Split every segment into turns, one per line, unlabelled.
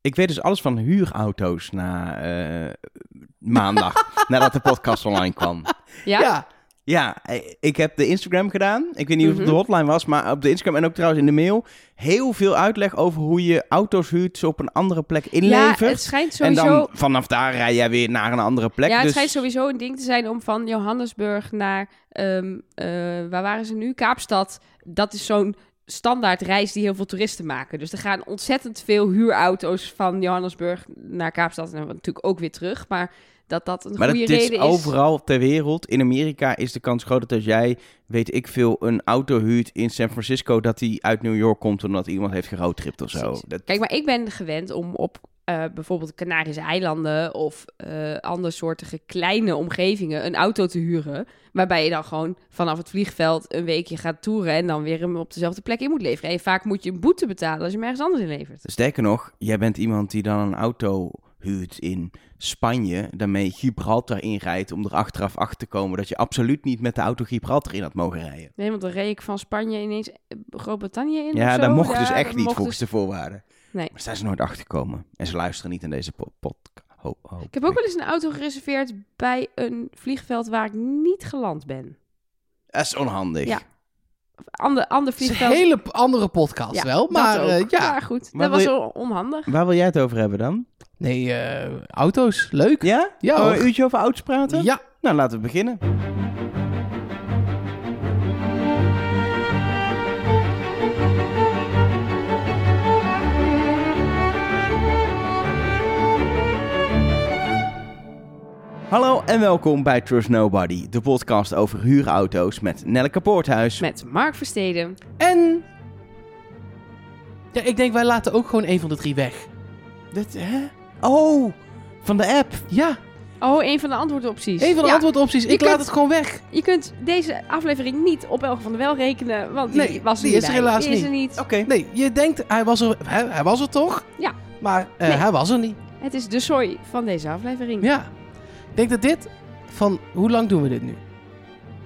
Ik weet dus alles van huurauto's na eh, maandag, nadat de podcast online kwam.
Ja?
Ja,
Ja, eh, ik heb de Instagram gedaan. Ik weet niet of het op
Mhm.
de hotline was, maar op de Instagram en ook trouwens in de mail. Heel veel uitleg over hoe je auto's huurt, ze op een andere plek
Ja,
inlevert.
het schijnt
en
sowieso...
dan vanaf daar rij jij weer naar een andere plek.
ja, het
dus...
schijnt sowieso een ding te zijn om van Johannesburg naar, ehm, eh, waar waren ze nu? Kaapstad. Dat is zo'n standaard reis die heel veel toeristen maken. Dus er gaan ontzettend veel huurauto's van Johannesburg naar Kaapstad. En dan natuurlijk ook weer terug. Maar dat dat een
Maar dat
goede
dit
reden
is
is.
overal ter wereld. In Amerika is de kans groot dat als jij, weet ik veel, een auto huurt in San Francisco, dat die uit New York komt omdat iemand heeft geroadtript of zo.
Precies.
Dat,
Kijk, maar ik ben gewend om op eh, bijvoorbeeld Canarische eilanden of eh andersoortige kleine omgevingen een auto te huren. Waarbij je dan gewoon vanaf het vliegveld een weekje gaat toeren en dan weer hem op dezelfde plek in moet leveren. En vaak moet je een boete betalen als je hem ergens anders inlevert.
sterker nog, jij bent iemand die dan een auto huurt in Spanje, daarmee Gibraltar inrijdt om er achteraf achter te komen dat je absoluut niet met de auto Gibraltar in had mogen rijden.
Nee, want dan reed ik van Spanje ineens eh, Groot-Brittannië in.
Ja,
of zo.
dat mocht dus
Daar
echt niet
mocht
volgens de voorwaarden.
Nee.
Maar zijn ze nooit achtergekomen. En ze luisteren niet in deze po- podcast. Ho- ho-
Ik heb ook wel eens een auto gereserveerd bij een vliegveld waar ik niet geland ben.
Dat is onhandig.
Ja. Of Ander, ander
het is
vliegveld.
een hele p- andere podcast
Ja,
wel.
dat
Maar
ook.
eh, ja,
Maar goed,
Maar
dat was
wil
on- onhandig.
Waar wil jij het over hebben dan?
nee, eh, auto's, leuk.
Ja?
Ja,
Oh,
hoor.
een uurtje over auto's praten?
ja.
Nou, laten we beginnen. Hallo en welkom bij Trust Nobody, de podcast over huurauto's met Nelleke Poorthuis.
Met Mark Versteden.
En... Ja, ik denk wij laten ook gewoon een van de drie weg.
Dit, hè? Oh, van de app.
Ja,
Oh, een van de antwoordopties.
een van de
Ja,
antwoordopties. Ik
je
laat
kunt-
het gewoon weg.
Je kunt deze aflevering niet op Elge van der Wel rekenen, want die
Nee,
was er
die
niet
is er
bij.
helaas
Die is
niet. Oh.
er niet.
Oké.
Nee, je denkt, hij was er, hij, hij was er toch?
Ja.
Maar eh,
Nee.
hij was er niet.
Het is de sooi van deze aflevering.
Ja. Ik denk dat dit van... Hoe lang doen we dit nu?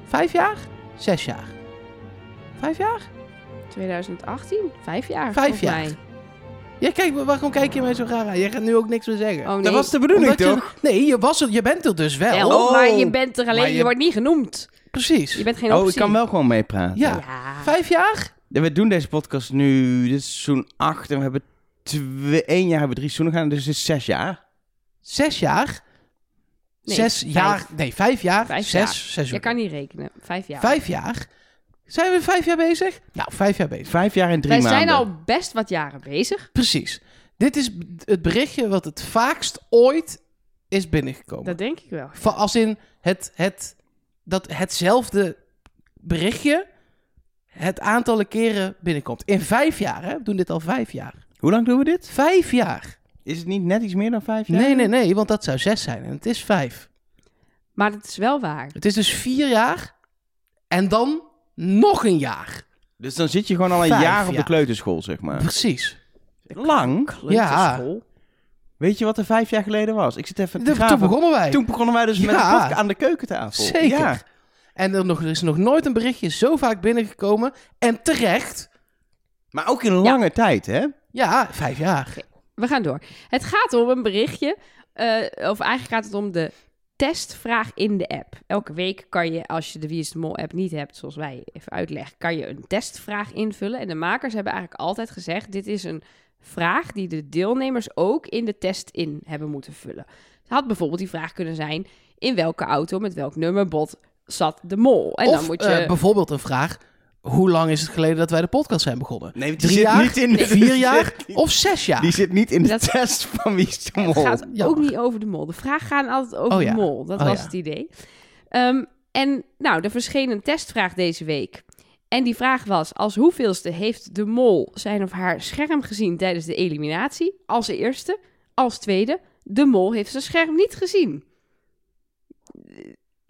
Vijf jaar? Zes jaar? Vijf jaar?
2018, vijf jaar.
Vijf
volgens
jaar.
mij.
Ja, kijk, wa- waarom kijk je mij zo raar aan? Jij gaat nu ook niks meer zeggen.
Oh nee.
Dat was de bedoeling
Omdat je-
toch?
Nee, je, was er, je bent er dus wel.
Wel,
Oh.
maar je bent er alleen,
Maar
je...
je-
wordt niet genoemd.
Precies.
Je bent geen
Oh, ik
optie.
kan wel gewoon meepraten.
Ja.
Ja.
Vijf jaar?
Ja, We doen deze podcast nu, dit is seizoen 8 en we hebben twee, één jaar hebben we drie seizoenen gedaan, dus het is zes jaar.
Zes jaar?
Nee,
zes
vijf.
jaar? Nee, vijf jaar.
Vijf
zes
jaar.
seizoen.
Je kan niet rekenen. Vijf jaar.
Vijf jaar? Zijn we vijf jaar bezig? Nou, vijf jaar bezig.
Vijf jaar en drie
Wij
maanden.
zijn al best wat jaren bezig.
Precies. Dit is b- het berichtje wat het vaakst ooit is binnengekomen.
Dat denk ik wel.
Va- Als in het, het, dat hetzelfde berichtje het aantallen keren binnenkomt. In vijf jaar, hè? We doen dit al vijf jaar.
Hoe lang doen we dit?
Vijf jaar.
Is het niet net iets meer dan vijf jaar?
Nee, nee, nee, want dat zou zes zijn en het is vijf.
Maar dat is wel waar.
Het is dus vier jaar en dan nog een jaar.
Dus dan zit je gewoon al een
Vijf
jaar op de
jaar.
kleuterschool, zeg maar.
Precies.
Lang?
Ja.
Weet je wat er vijf jaar geleden was? Ik zit even te
De-
graven.
toen begonnen wij.
Toen begonnen wij dus met de
Ja.
podcast aan de keukentafel.
Zeker.
Ja.
En er, nog, er is nog nooit een berichtje zo vaak binnengekomen. En terecht.
Maar ook in lange tijd, hè?
Ja, vijf jaar.
We gaan door. Het gaat om een berichtje. eh, of eigenlijk gaat het om de testvraag in de app. Elke week kan je, als je de Wie is de Mol app niet hebt, zoals wij even uitleggen, kan je een testvraag invullen. En de makers hebben eigenlijk altijd gezegd: dit is een vraag die de deelnemers ook in de test in hebben moeten vullen. Het had bijvoorbeeld die vraag kunnen zijn: in welke auto met welk nummerbod zat de mol? En
of
dan moet je.
eh, bijvoorbeeld een vraag. Hoe lang is het geleden dat wij de podcast zijn begonnen?
Nee, die
Drie
zit
jaar,
niet in de- die
vier
zit
jaar
niet-
of zes jaar?
Die zit niet in de
Dat-
test van wie is de mol.
Het gaat ook
Jammer.
niet over de mol. De vragen gaan altijd over
Oh ja.
de mol. Dat
Oh
was
ja.
het idee. Ehm, en nou, er verscheen een testvraag deze week. En die vraag was: als hoeveelste heeft de mol zijn of haar scherm gezien tijdens de eliminatie? Als eerste, als tweede, de mol heeft zijn scherm niet gezien.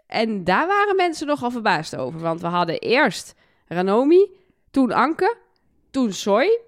En daar waren mensen nogal verbaasd over, want we hadden eerst Ranomi, toen Anke, toen Soy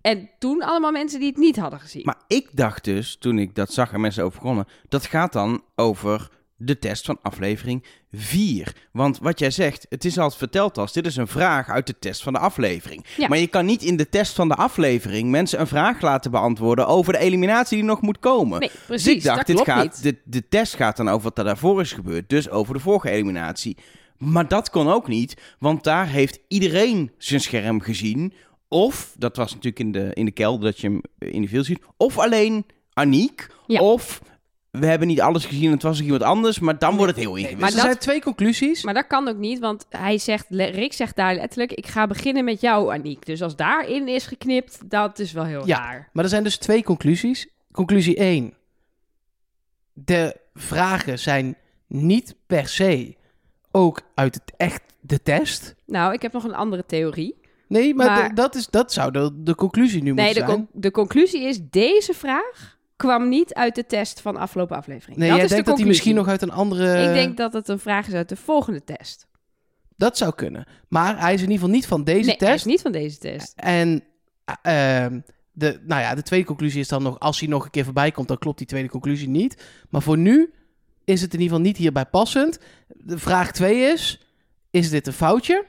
en toen allemaal mensen die het niet hadden gezien.
Maar ik dacht dus, toen ik dat zag en mensen over begonnen, dat gaat dan over de test van aflevering 4. Want wat jij zegt, het is al verteld als dit is een vraag uit de test van de aflevering.
Ja.
Maar je kan niet in de test van de aflevering mensen een vraag laten beantwoorden over de eliminatie die nog moet komen.
Nee,
Dus
precies.
ik dacht,
dat
dit
klopt
gaat,
niet.
De, de test gaat dan over wat er daarvoor is gebeurd. Dus over de vorige eliminatie. Maar dat kon ook niet, want daar heeft iedereen zijn scherm gezien. Of, dat was natuurlijk in de, in de kelder dat je hem eh, individueel ziet. Of alleen Aniek.
Ja.
Of, we hebben niet alles gezien, het was nog iemand anders. Maar dan wordt het heel ingewikkeld.
maar
Dus er
dat-
zijn twee conclusies.
Maar dat kan ook niet, want hij zegt, Rick zegt daar letterlijk... ik ga beginnen met jou, Aniek. Dus als daarin is geknipt, dat is wel heel
Ja.
raar.
Maar er zijn dus twee conclusies. Conclusie 1. De vragen zijn niet per se ook uit het echt de test.
Nou, ik heb nog een andere theorie.
Nee, maar,
Maar-
d- dat, is, dat zou de, de conclusie nu
Nee,
moeten
de,
zijn.
con- de conclusie is, deze vraag kwam niet uit de test van de afgelopen aflevering.
nee,
dat
jij
is de
denkt dat die misschien nog eh,
conclusie.
uit een andere...
Ik denk dat het een vraag is uit de volgende test.
Dat zou kunnen. Maar hij is in ieder geval niet van deze
nee, hij
test.
is niet van deze test.
En eh, ehm, de, nou ja, de tweede conclusie is dan nog... als hij nog een keer voorbij komt, dan klopt die tweede conclusie niet. Maar voor nu is het in ieder geval niet hierbij passend. De vraag 2 is... is dit een foutje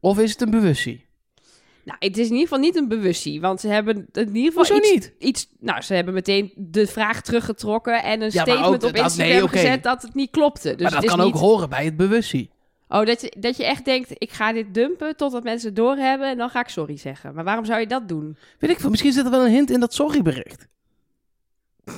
of is het een bewustzijn?
Nou, het is in ieder geval niet een bewustzijn, want ze hebben het in ieder
Hoezo
geval iets,
niet?
iets... Nou, ze hebben meteen de vraag teruggetrokken en een
Ja, maar
statement
ook
op
dat-
Instagram
nee, oké.
gezet dat het niet klopte. Dus
maar dat
het is
kan ook
niet,
horen bij het bewustzijn.
Oh, dat je, dat je echt denkt, ik ga dit dumpen totdat mensen het doorhebben en dan ga ik sorry zeggen. Maar waarom zou je dat doen?
Weet ik veel, misschien zit er wel een hint in dat sorry-bericht.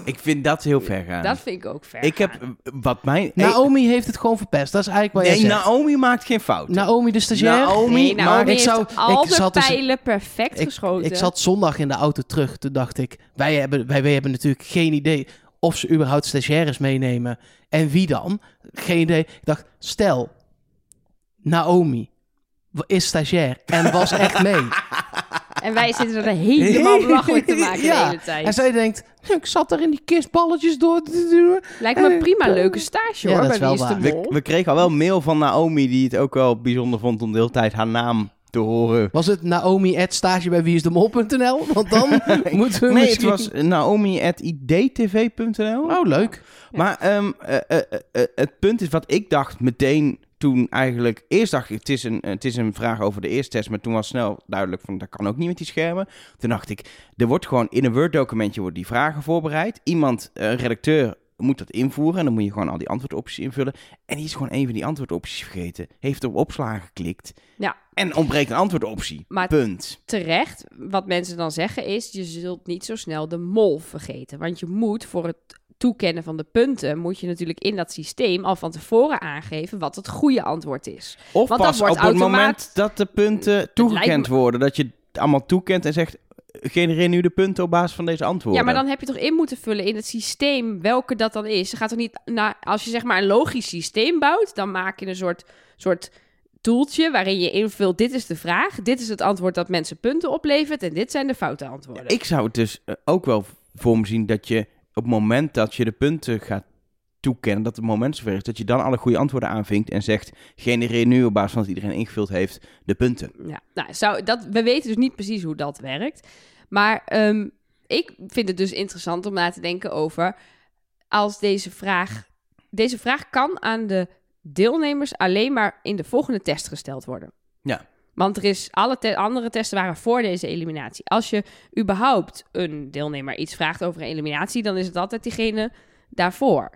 Ik vind dat heel ver gaan.
Dat vind ik ook ver
ik heb,
gaan.
eh, wat mij...
Naomi heeft het gewoon verpest. Dat is eigenlijk wat
nee,
jij zegt.
Naomi maakt geen fout.
Naomi, de stagiair.
Naomi,
Nee, nou,
maakt-
ik
ik zou-
zou, al
ik
de
zat dus-
pijlen perfect
ik,
geschoten.
Ik zat zondag in de auto terug. Toen dacht ik, wij hebben, wij, wij hebben natuurlijk geen idee of ze überhaupt stagiaires meenemen. En wie dan? Geen idee. Ik dacht, stel, Naomi wa- is stagiair en was echt mee.
En wij zitten er helemaal belachelijk te maken
Ja,
de hele tijd.
En zij denkt, "Hm, ik zat daar in die kistballetjes door te doen.
Lijkt me
Eh,
prima
eh,
leuke stage
ja,
hoor,
dat
bij
is wel
Wie is de
waar.
We,
Mol.
we kregen al wel mail van Naomi, die het ook wel bijzonder vond om de hele tijd haar naam te horen.
Was het Naomi at stage bij wieisdemol.nl? Want dan moeten we
Nee, het
misschien...
was naomi.idtv.nl.
Oh, leuk.
Maar ehm, eh, eh, eh, eh, het punt is wat ik dacht meteen toen eigenlijk... Eerst dacht ik, het is een, eh, het is een vraag over de eerste test. Maar toen was snel duidelijk van, dat kan ook niet met die schermen. Toen dacht ik, er wordt gewoon in een Word-documentje worden die vragen voorbereid. Iemand, eh, een redacteur, moet dat invoeren. En dan moet je gewoon al die antwoordopties invullen. En die is gewoon een van die antwoordopties vergeten. Heeft op opslagen geklikt.
Ja.
En ontbreekt een antwoordoptie.
Maar-
Punt.
Terecht, wat mensen dan zeggen is, je zult niet zo snel de mol vergeten. Want je moet voor het toekennen van de punten, moet je natuurlijk in dat systeem al van tevoren aangeven wat het goede antwoord is.
Of
Want dat
pas op
wordt
het
automaat-
moment dat de punten toegekend
lijkt
worden. Dat je het allemaal toekent en zegt... Genereer nu de punten op basis van deze antwoorden.
Ja, maar dan heb je toch in moeten vullen in het systeem welke dat dan is. Je gaat toch niet naar, als je zeg maar een logisch systeem bouwt, dan maak je een soort, soort toeltje waarin je invult: dit is de vraag, dit is het antwoord dat mensen punten oplevert en dit zijn de foute antwoorden.
Ik zou het dus eh, ook wel voor me zien dat je op het moment dat je de punten gaat toekennen, dat het moment zover is, dat je dan alle goede antwoorden aanvinkt en zegt, genereer nu op basis van wat iedereen ingevuld heeft, de punten.
Ja, nou, zou, dat, we weten dus niet precies hoe dat werkt. Maar ehm, ik vind het dus interessant om na te denken over als deze vraag. Deze vraag kan aan de deelnemers alleen maar in de volgende test gesteld worden.
Ja.
Want er is alle te- andere testen waren voor deze eliminatie. Als je überhaupt een deelnemer iets vraagt over een eliminatie, dan is het altijd diegene daarvoor.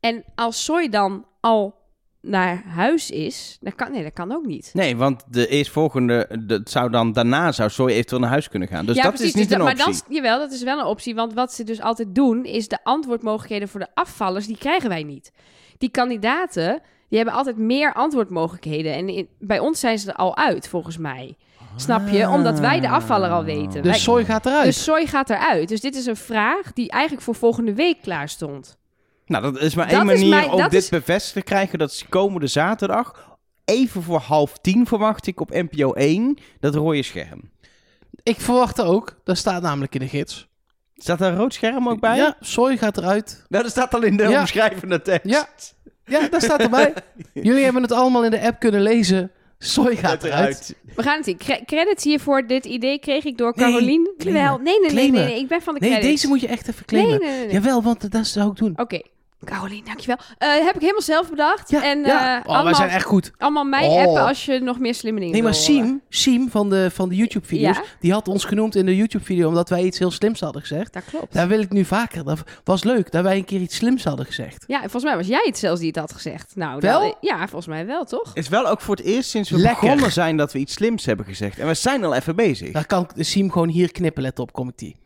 En als Soy dan al naar huis is, dan kan, nee, dat kan ook niet.
Nee, want de eerstvolgende, dat zou dan daarna, zou Soy eventueel naar huis kunnen gaan. Dus dat is
dus
niet
dat-
een optie.
Maar dan, is- jawel, dat is wel een optie. Want wat ze dus altijd doen, is de antwoordmogelijkheden voor de afvallers, die krijgen wij niet. Die kandidaten, die hebben altijd meer antwoordmogelijkheden. En in- bij ons zijn ze er al uit, volgens mij. Snap je? Omdat wij de afvaller al weten.
Dus
Wij-
Soy gaat eruit.
Dus Soy gaat eruit. Dus dit is een vraag die eigenlijk voor volgende week klaar stond.
Nou, dat is maar
Dat
één
is
manier
mijn-
om
dat
dit
is-
bevestigd te krijgen. Dat is komende zaterdag, even voor half tien verwacht ik op NPO 1, dat rode scherm.
Ik verwacht ook, dat staat namelijk in de gids.
Staat daar een rood scherm ook bij?
Ja, Soy gaat eruit.
Nou, dat staat al in de
Ja.
omschrijvende tekst.
Ja. Ja, daar staat erbij. Jullie hebben het allemaal in de app kunnen lezen. Soy gaat eruit.
We gaan het zien. Cre- credits hiervoor, dit idee kreeg ik door
Nee,
Caroline.
claimen.
Jawel, nee nee, nee, nee,
Claimen.
nee, ik ben van de
Nee,
credits.
deze moet je echt even claimen.
Nee, Oh, nee, nee, nee.
Jawel, want dat zou ik doen.
Oké, Caroline, dankjewel. Eh heb ik helemaal zelf bedacht. en
ja.
eh,
oh, wij
allemaal,
zijn echt goed.
allemaal mij
Oh.
appen als je nog meer slimme dingen
Nee, maar
wil eh, horen.
Siem, Siem van de, van de YouTube-video's,
Ja.
die had ons genoemd in de YouTube-video omdat wij iets heel slims hadden gezegd.
Dat klopt.
Daar wil ik nu vaker. Dat was leuk dat wij een keer iets slims hadden gezegd.
Ja, volgens mij was jij het zelfs die het had gezegd. Nou,
Wel?
dan- ja, volgens mij wel, toch?
is wel ook voor het eerst sinds we
Lekker.
begonnen zijn dat we iets slims hebben gezegd. En we zijn al even bezig.
Dan kan ik Siem gewoon hier knippen, let op, kom ik die.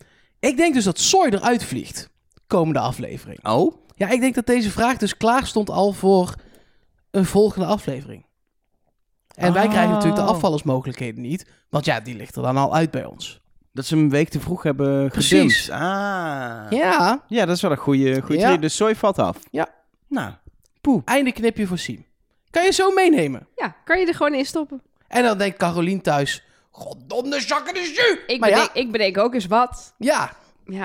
Ik denk dus dat Soy eruit vliegt, komende aflevering.
Oh?
Ja, ik denk dat deze vraag dus klaar stond al voor een volgende aflevering. En wij
Oh.
krijgen natuurlijk de afvallersmogelijkheden niet, want ja, die ligt er dan al uit bij ons.
Dat ze hem een week te vroeg hebben
Precies.
gedumpt. Ah.
Ja,
Ja, dat is wel een goede, goede
Ja.
tip. Dus sooi valt af.
Ja.
Nou,
einde knipje voor Siem. Kan je zo meenemen?
Ja, kan je er gewoon in stoppen.
En dan denkt Carolien thuis, goddomme zakken de jus!
Ik,
Maar ja.
bedenk, ik bedenk ook eens wat.
Ja,
Ja.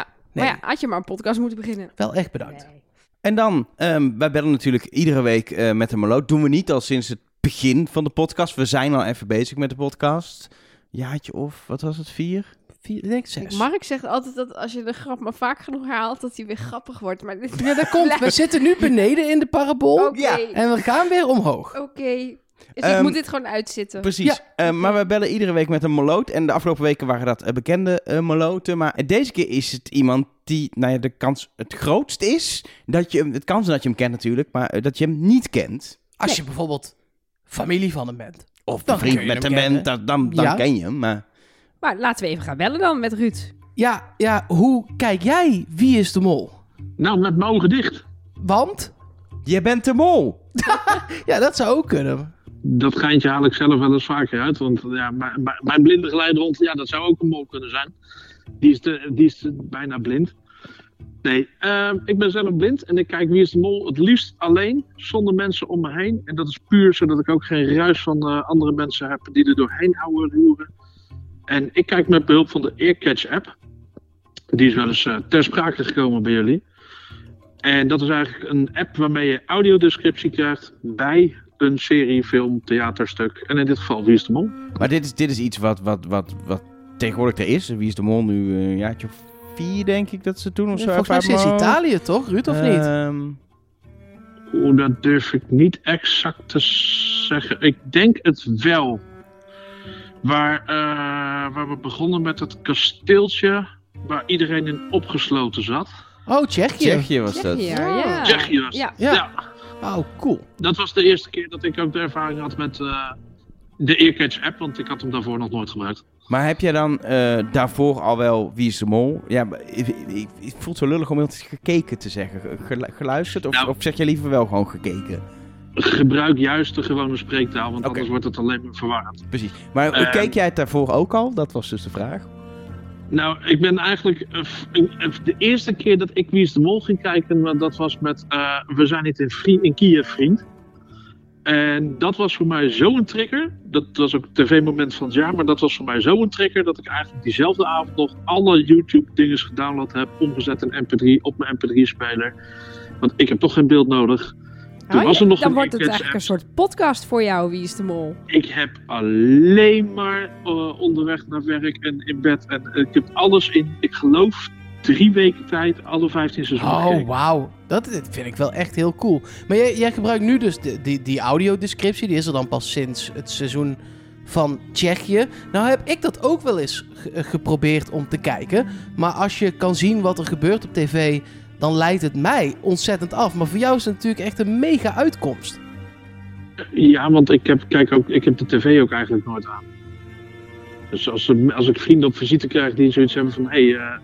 Maar
Nee.
ja, had je maar een podcast moeten beginnen.
wel echt bedankt.
Nee.
en dan, ehm, wij bellen natuurlijk iedere week eh, met een meloot. Doen we niet al sinds het begin van de podcast. We zijn al even bezig met de podcast. Jaartje of, wat was het, vier?
Vier, ik denk zes.
Mark zegt altijd dat als je de grap maar vaak genoeg herhaalt, dat hij weer grappig wordt. Maar dit...
Ja, dat komt. We zitten nu beneden in de parabool
Oké,
Ja.
en we gaan weer omhoog.
oké. Dus ik
Ehm,
moet dit gewoon uitzitten.
Precies.
Ja.
Eh, maar wij bellen iedere week met een meloot. En de afgelopen weken waren dat eh, bekende eh meloten. Maar deze keer is het iemand die, nou ja, de kans het grootst is. Dat je, hem- het kans dat je hem kent natuurlijk, maar eh, dat je hem niet kent.
Als je bijvoorbeeld familie van hem bent.
Of
Dan
vriend
kun je
met
hem
hem bent,
kennen.
dan, dan, dan
Ja.
ken je hem. Maar
Maar laten we even gaan bellen dan met Ruud.
Ja, ja, hoe kijk jij Wie is de Mol?
Nou, met mijn ogen dicht.
Want,
je bent de mol!
ja, dat zou ook kunnen.
Dat geintje haal ik zelf wel eens vaker uit. Want ja, mijn- mijn- mijn blinde geleidehond, ja, dat zou ook een mol kunnen zijn. Die is, de, die is de- bijna blind. Nee, ehm, ik ben zelf blind en ik kijk Wie is de Mol het liefst alleen, zonder mensen om me heen. En dat is puur zodat ik ook geen ruis van eh, andere mensen heb die er doorheen houden roeren. En ik kijk met behulp van de Earcatch app. Die is wel eens eh, ter sprake gekomen bij jullie. En dat is eigenlijk een app waarmee je audiodescriptie krijgt bij een serie, film, theaterstuk. En in dit geval Wie is de Mol.
Maar dit is, dit is iets wat, wat, wat, wat tegenwoordig er is. Wie is de mol nu? eh, Een jaartje of vier, denk ik, dat ze toen of zo.
Volgens mij
uit mijn
is
hoofd.
Italië toch, Ruud, of niet?
Ehm,
Oeh, dat durf ik niet exact te zeggen. Ik denk het wel. Waar, eh, waar we begonnen met het kasteeltje waar iedereen in opgesloten zat.
Oh, Tsjechië.
Tsjechië was dat.
Tsjechië,
Oh.
ja.
Tsjechië was
Ja.
Ja.
ja,
Oh, cool.
dat was de eerste keer dat ik ook de ervaring had met eh, de Earcatch app, want ik had hem daarvoor nog nooit gebruikt.
Maar heb jij dan eh, daarvoor al wel Wie is de Mol? Ja, maar ik- ik- ik- het voelt zo lullig om heel gekeken te zeggen. Ge- gelu- Geluisterd? Of,
Nou.
of zeg je liever wel gewoon gekeken?
Gebruik juist de gewone spreektaal, want
Oké.
anders wordt het alleen maar verwarrend.
Precies. Maar
Ehm.
keek jij het daarvoor ook al? Dat was dus de vraag.
Nou, ik ben eigenlijk. eh, f- eh, f- de eerste keer dat ik Wie is de Mol ging kijken, want dat was met eh, We zijn niet in, Vri- in Kiev, vriend. En dat was voor mij zo'n trigger. Dat was ook het tv-moment van het jaar, maar dat was voor mij zo'n trigger dat ik eigenlijk diezelfde avond nog alle YouTube-dingen gedownload heb, omgezet in MP3 op mijn MP3-speler. Want ik heb toch geen beeld nodig. Toen
Oh,
was
ja.
er nog
dan
een
wordt het
Earcatch
eigenlijk
app.
een soort podcast voor jou, Wie is de Mol?
Ik heb alleen maar eh, onderweg naar werk en in bed. En eh, ik heb alles in, ik geloof, drie weken tijd, alle 15 seizoenen.
Oh,
gekeken.
wauw. Dat dit vind ik wel echt heel cool. Maar jij, jij gebruikt nu dus de, die, die audiodescriptie. Die is er dan pas sinds het seizoen van Tsjechië. Nou heb ik dat ook wel eens ge- eh, geprobeerd om te kijken. Maar als je kan zien wat er gebeurt op tv, dan leidt het mij ontzettend af. Maar voor jou is het natuurlijk echt een mega uitkomst.
Ja, want ik heb, kijk ook, ik heb de tv ook eigenlijk nooit aan. Dus als, er- als ik vrienden op visite krijg die zoiets hebben van: hé, hey, eh, eh,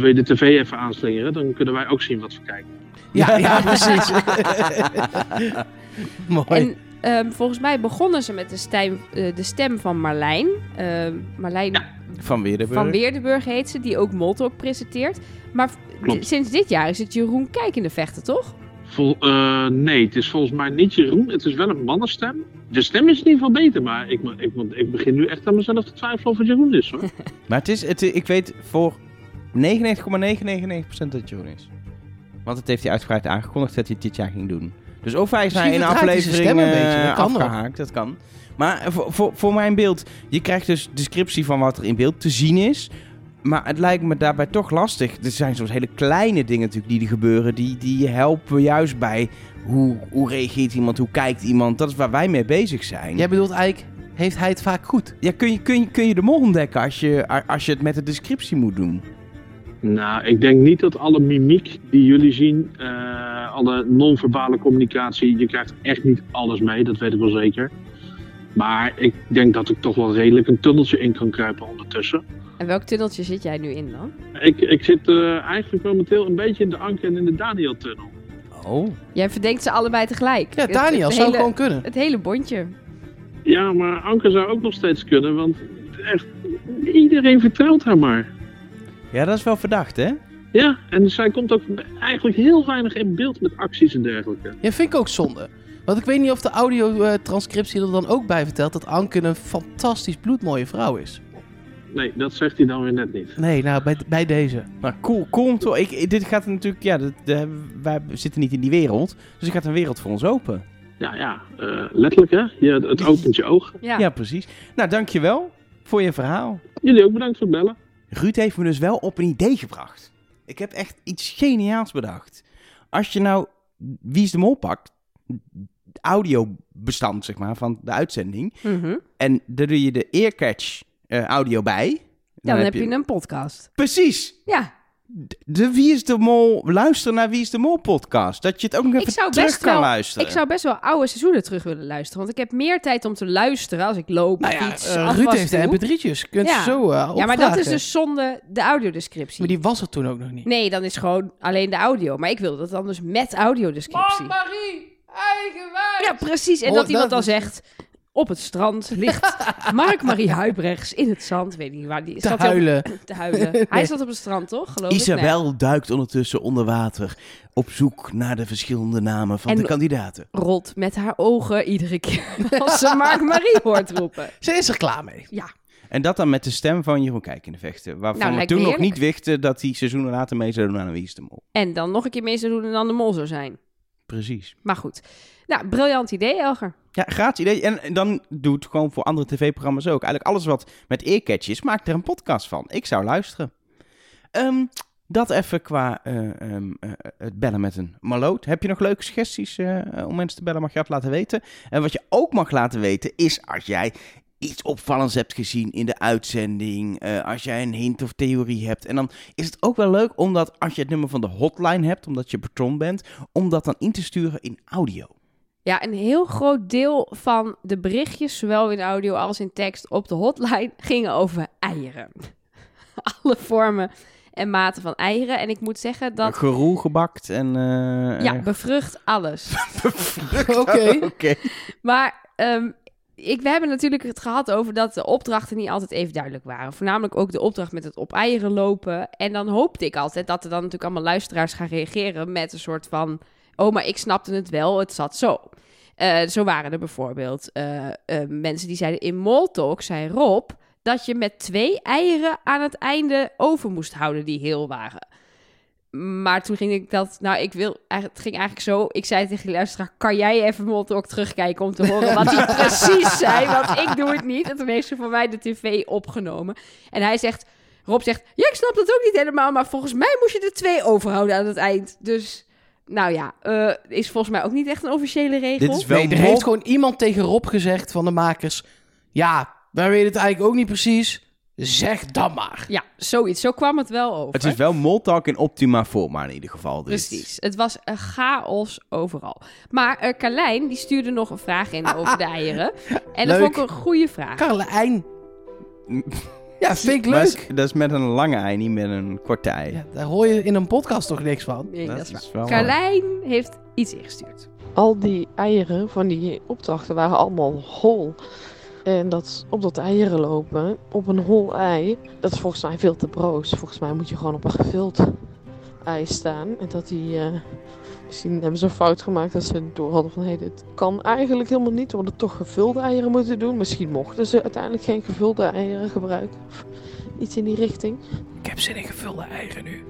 wil je de tv even aanslingeren? Dan kunnen wij ook zien wat we kijken.
Ja, ja precies. Mooi.
En ehm, volgens mij begonnen ze met de, stijm, eh, de stem van Marlijn. Ehm, Marlijn
Van Weerdenburg.
van Weerdenburg heet ze, die ook Moltok presenteert. Maar v-
Klopt.
d- sinds dit jaar is het Jeroen Kijk in de vechten, toch?
Vol, eh, nee, het is volgens mij niet Jeroen. Het is wel een mannenstem. De stem is in ieder geval beter, maar ik, ik, ik begin nu echt aan mezelf te twijfelen of het Jeroen is hoor.
Maar het is, het, ik weet voor 99,999% dat het Jeroen is. Want dat heeft hij uitgebreid aangekondigd dat hij het dit jaar ging doen. Dus of hij is na
Misschien
één
vertraagt hij zijn
aflevering
stem een
eh,
beetje, dat kan nog.
afgehaakt, dat kan. Maar voor, voor, voor mijn beeld, je krijgt dus descriptie van wat er in beeld te zien is. Maar het lijkt me daarbij toch lastig. Er zijn soms hele kleine dingen natuurlijk die er gebeuren. Die, die helpen juist bij hoe, hoe reageert iemand, hoe kijkt iemand. Dat is waar wij mee bezig zijn.
Jij bedoelt eigenlijk, heeft hij het vaak goed?
Ja, kun, je, kun, je, kun je de mol ontdekken als je, a- als je het met de descriptie moet doen?
Nou, ik denk niet dat alle mimiek die jullie zien, eh, alle non-verbale communicatie, je krijgt echt niet alles mee, dat weet ik wel zeker. Maar ik denk dat ik toch wel redelijk een tunneltje in kan kruipen ondertussen.
En welk tunneltje zit jij nu in dan?
Ik, ik zit eh, eigenlijk momenteel een beetje in de Anke en in de Daniel-tunnel.
Oh.
Jij verdenkt ze allebei tegelijk.
Ja,
Het-
Daniel
het
zou
hele-
gewoon kunnen.
Het hele bondje.
Ja, maar Anke zou ook nog steeds kunnen, want echt, iedereen vertrouwt haar maar.
Ja, dat is wel verdacht, hè?
Ja, en zij komt ook eigenlijk heel weinig in beeld met acties en dergelijke.
Ja, vind ik ook zonde. Want ik weet niet of de audio-transcriptie er dan ook bij vertelt dat Anke een fantastisch bloedmooie vrouw is.
Nee, dat zegt hij dan weer net niet.
Nee, nou, bij, bij deze.
Maar cool, cool om te- Ik, ik- dit gaat natuurlijk... Ja, dat, dat hebben- wij zitten niet in die wereld. Dus er gaat een wereld voor ons open.
Ja, ja, eh, letterlijk hè. Je, het opent je ogen.
Ja.
Ja, precies. Nou, dankjewel voor je verhaal.
Jullie ook bedankt voor het bellen.
Ruud heeft me dus wel op een idee gebracht. Ik heb echt iets geniaals bedacht. Als je nou Wie is de Mol pakt, audiobestand zeg maar, van de uitzending...
Mhm.
en daar doe je de earcatch eh, audio bij...
Dan, heb je een podcast.
Precies!
Ja,
De Wie is de Mol, luister naar Wie is de Mol podcast. Dat je het ook nog even
ik zou,
terug
best
kan
wel,
luisteren.
ik zou best wel oude seizoenen terug willen luisteren. Want ik heb meer tijd om te luisteren als ik loop
Nou ja,
fiets,
eh,
afwas
Ruud heeft
doe.
de mp3'tjes. Kunt
Ja.
je zo eh,
Ja, maar dat
opvragen.
is dus zonder de audiodescriptie.
Maar die was er toen ook nog niet.
Nee, dan is gewoon alleen de audio. Maar ik wil dat dan dus met audiodescriptie. Marie, eigenwijs! Ja, precies. En
Oh,
dat iemand dan
dat-
zegt... Op het strand ligt Mark-Marie Huibrechts in het zand. Weet niet waar. Die
Te
zat hij op-
huilen.
te huilen. Hij zat op het strand, toch? Geloof ik. Nee.
Isabel duikt ondertussen onder water op zoek naar de verschillende namen van
En-
de kandidaten.
Rolt met haar ogen iedere keer als ze Mark-Marie hoort roepen.
Ze is er klaar mee.
Ja.
En dat dan met de stem van Jeroen Kijk in de vechten. Waarvan
Nou,
we
lijkt
toen
me
nog niet
heerlijk.
wisten dat die seizoenen later mee zouden doen aan Wie is de Mol.
En dan nog een keer mee zou doen en dan de mol zou zijn.
Precies.
Maar goed. Nou, briljant idee, Elger.
Ja, gratis idee. En en dan doet het gewoon voor andere tv-programma's ook. Eigenlijk alles wat met earcatch is, maak er een podcast van. Ik zou luisteren. Ehm, dat even qua eh, ehm, eh, het bellen met een maloot. Heb je nog leuke suggesties eh, eh, om mensen te bellen? Mag je dat laten weten? En wat je ook mag laten weten is als jij iets opvallends hebt gezien in de uitzending. eh, als jij een hint of theorie hebt. En dan is het ook wel leuk omdat als je het nummer van de hotline hebt, omdat je patron bent, om dat dan in te sturen in audio.
Ja, een heel groot deel van de berichtjes, zowel in audio als in tekst, op de hotline gingen over eieren. Alle vormen en maten van eieren. En ik moet zeggen dat.
Geroel gebakt en... eh,
Ja,
eh,
bevrucht alles.
Oké.
Oké.
Maar ehm, ik, we hebben natuurlijk het gehad over dat de opdrachten niet altijd even duidelijk waren. Voornamelijk ook de opdracht met het op eieren lopen. En dan hoopte ik altijd dat er dan natuurlijk allemaal luisteraars gaan reageren met een soort van... Oh, maar ik snapte het wel, het zat zo. Eh, zo waren er bijvoorbeeld eh, eh, mensen die zeiden in Moltalk, zei Rob... dat je met twee eieren aan het einde over moest houden die heel waren. Maar toen ging ik dat... Nou, ik wil... Het ging eigenlijk zo... Ik zei tegen de luisteraar... Kan jij even Moltalk terugkijken om te horen wat hij precies zei? Want ik doe het niet. En toen heeft ze voor mij de tv opgenomen. En hij zegt... Rob zegt... Ja, ik snap dat ook niet helemaal. Maar volgens mij moest je er twee overhouden aan het eind. Dus... Nou ja, eh, is volgens mij ook niet echt een officiële regel.
Dit is wel
Nee, er
mol-
heeft gewoon iemand tegen Rob gezegd van de makers... Ja, wij weten het eigenlijk ook niet precies. Zeg dan maar.
Ja, zoiets. Zo kwam het wel over.
Het is wel moltalk in optima forma in ieder geval. Dus.
Precies. Het was een chaos overal. Maar eh Carlijn, die stuurde nog een vraag in over de eieren. En dat
Leuk.
vond ik een goede vraag.
Carlijn. Mm. Ja, vind ik
Maar
leuk.
is- dat is met een lange ei, niet met een korte ei.
Ja, daar hoor je in een podcast toch niks van?
Nee, dat, is waar.
wel
Carlijn heeft iets ingestuurd.
Al die eieren van die opdrachten waren allemaal hol. En dat op dat eieren lopen, op een hol ei, dat is volgens mij veel te broos. Volgens mij moet je gewoon op een gevuld ei staan. En dat die, eh, misschien hebben ze een fout gemaakt dat ze door hadden van, hé, dit kan eigenlijk helemaal niet. We hadden toch gevulde eieren moeten doen. Misschien mochten ze uiteindelijk geen gevulde eieren gebruiken. Of iets in die richting.
Ik heb zin in gevulde eieren nu.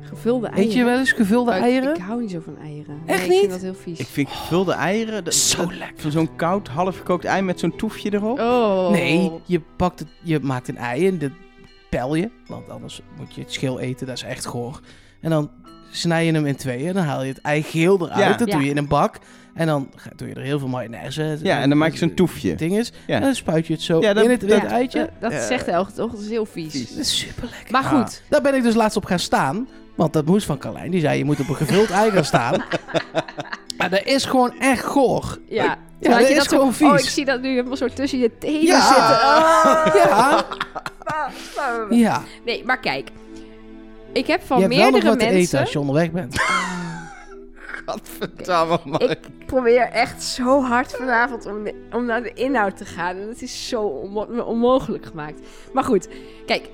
Gevulde eieren.
Eet je wel eens gevulde
Maar ik-
eieren?
Ik hou niet zo van eieren. nee,
Echt
Ik
niet?
vind dat heel vies.
Ik vind gevulde eieren... Dat,
Zo
dat-
lekker.
van Zo'n koud, halfgekookt ei met zo'n toefje erop.
Oh.
Nee, je, pakt het, je maakt een ei en dat pel je, want anders moet je het schil eten, dat is echt goor. En dan snij je hem in tweeën, dan haal je het ei geel eruit,
Ja.
dat
Ja.
doe je in een bak. En dan ga- doe je er heel veel mayonaise.
Ja, en dan maak je zo'n toefje.
Ding is,
Ja.
en dan spuit je het zo
Ja, dat-
in het, in
Ja,
het eitje.
dat- Dat
Eh,
zegt Elge toch? Dat is heel vies.
vies.
Dat is super lekker.
Maar goed,
Daar ben ik dus laatst op gaan staan. Want dat moest van Carlijn. Die zei, je moet op een gevuld ei gaan staan. Maar dat is gewoon echt goor.
ja.
Ah. Ja,
Terwijl
dat
je
is
zo-
gewoon vies.
Oh, ik zie dat nu helemaal zo tussen je tenen
Ja.
zitten. Oh.
Ja,
Ah.
ja.
Nee, maar kijk. Ik heb van
je hebt wel nog
meerdere
wat te eten
mensen...
als je onderweg bent.
Gadverdamme, man.
Ik probeer echt zo hard vanavond om, om naar de inhoud te gaan. En dat is zo onmo- onmogelijk gemaakt. Maar goed, kijk.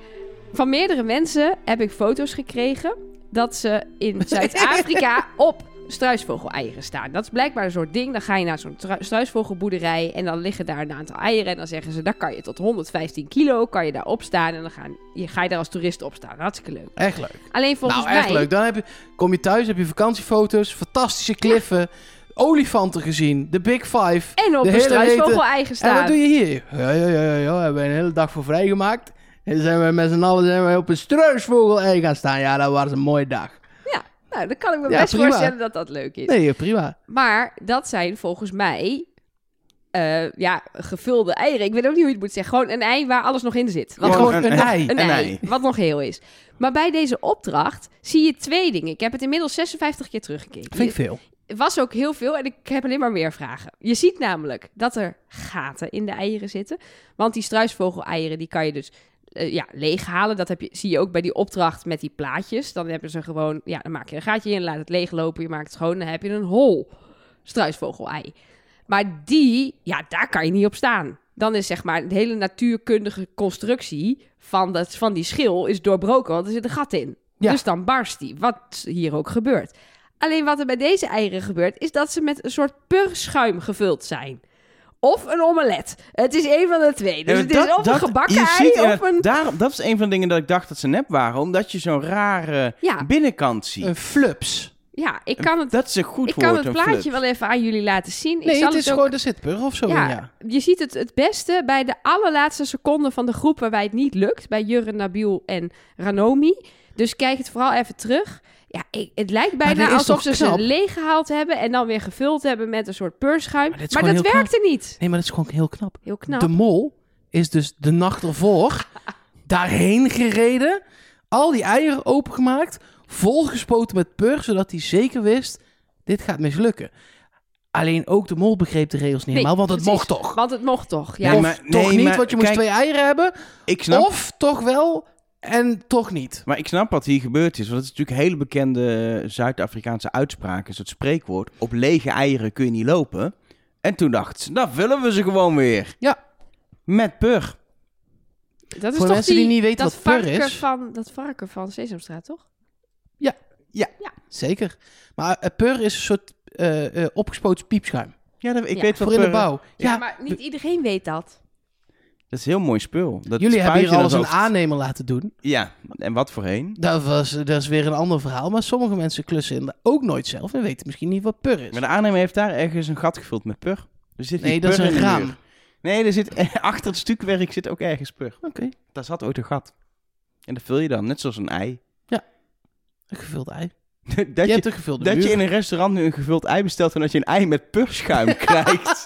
Van meerdere mensen heb ik foto's gekregen dat ze in Zuid-Afrika op struisvogeleieren staan. Dat is blijkbaar een soort ding. Dan ga je naar zo'n tru- struisvogelboerderij en dan liggen daar een aantal eieren. En dan zeggen ze, daar kan je tot 115 kilo kan je daar opstaan. En dan gaan, je, ga je daar als toerist op staan. Hartstikke leuk.
Echt leuk.
Alleen volgens
nou, echt
mij...
leuk. Dan heb je, kom je thuis, heb je vakantiefoto's, fantastische kliffen, olifanten gezien, de Big Five.
En op
De
een
hele rete-
struisvogeleier
En wat
staan.
doe je hier? Ja, ja, ja, ja, ja, hebben we een hele dag voor vrijgemaakt. En zijn we met z'n allen zijn we op een struisvogel gaan staan. Ja, dat was een mooie dag.
Nou, dan kan ik me
Ja,
best
prima.
voorstellen dat dat leuk is.
Nee, prima.
Maar dat zijn volgens mij eh, ja, gevulde eieren. Ik weet ook niet hoe je het moet zeggen. Gewoon een ei waar alles nog in zit. Wat
Gewoon,
Gewoon
een,
een-
ei.
een,
een
ei, Dus
ei.
Wat nog heel is. Maar bij deze opdracht zie je twee dingen. Ik heb het inmiddels 56 keer teruggekeken.
Vind ik veel.
Het was ook heel veel en ik heb alleen maar meer vragen. Je ziet namelijk dat er gaten in de eieren zitten. Want die struisvogeleieren, die kan je dus eh, ja, leeghalen. Dat heb je, zie je ook bij die opdracht met die plaatjes. Dan hebben ze gewoon, ja, dan maak je een gaatje in, laat het leeglopen, je maakt het schoon, dan heb je een hol struisvogelei. Maar die, ja, daar kan je niet op staan. Dan is zeg maar de hele natuurkundige constructie van, dat, van die schil is doorbroken, want er zit een gat in.
Ja.
Dus dan barst die, wat hier ook gebeurt. Alleen wat er bij deze eieren gebeurt, is dat ze met een soort purschuim gevuld zijn. Of een omelet. Het is een van de twee. Dus
Ja,
het is
dat-
of een
dat-
gebakken
je
ei
ziet
of
inderdaad-
een...
daarom- dat is een van de dingen dat ik dacht dat ze nep waren. Omdat je zo'n rare
Ja.
binnenkant ziet.
Een flups.
Ja, ik kan het,
dat is een goed
ik
woord,
kan het
een
plaatje
flup.
wel even aan jullie laten zien. ik
Nee,
zal
het is
ook-
gewoon, er zit pur of zo in, Oh, ja.
Je ziet het het beste bij de allerlaatste seconde van de groep waarbij het niet lukt. Bij Jurre, Nabil en Ranomi. Dus kijk het vooral even terug. Ja, ik, het lijkt bijna
dit is
alsof ze
toch
ze
knap?
leeggehaald hebben en dan weer gevuld hebben met een soort peurschuim. Maar,
Maar dit is gewoon
dat
heel
werkte niet.
Nee, maar dat is gewoon heel knap.
Heel knap.
De mol is dus de nacht ervoor daarheen gereden, al die eieren opengemaakt, volgespoten met pur, zodat hij zeker wist, dit gaat mislukken. Alleen ook de mol begreep de regels niet
Nee,
helemaal, want het
precies.
mocht toch.
Want het mocht toch. Ja,
Nee,
of
maar-
toch
nee,
niet,
maar
want je moest
kijk-
twee eieren hebben.
Ik snap,
Of toch wel en toch niet.
Maar ik snap wat hier gebeurd is. Want het is natuurlijk een hele bekende eh, Zuid-Afrikaanse uitspraak. Is het spreekwoord. Op lege eieren kun je niet lopen. En toen dacht ze, dan vullen we ze gewoon weer.
Ja.
Met pur.
dat is
voor
toch
mensen die niet weten
dat
wat pur
varken
is.
Van, dat varken van Sesamstraat, toch?
Zeker. Maar eh, pur is een soort eh, eh, opgespoten piepschuim.
Ja, dat- ik
Ja.
weet wat
Voor in de
pur-
bouw. Ja,
maar niet iedereen weet dat.
Dat is heel mooi spul. Dat
jullie hebben
spuit
hier
je
alles
dan
een
zo-
aannemer laten doen.
Ja, en wat voorheen?
Dat, was, dat is weer een ander verhaal. Maar sommige mensen klussen in- ook nooit zelf en weten misschien niet wat pur is.
Maar de aannemer heeft daar ergens een gat gevuld met pur. Er zit
Nee,
hier
dat is
pur
een
in de
raam.
muur. Nee, er zit, achter het stukwerk zit ook ergens pur.
Oké,
Daar zat ooit een gat. En dat vul je dan, net zoals een ei.
een gevuld ei.
dat je,
je, hebt een gevulde
dat
muur.
je in een restaurant nu een gevuld ei bestelt en dat je een ei met purschuim krijgt.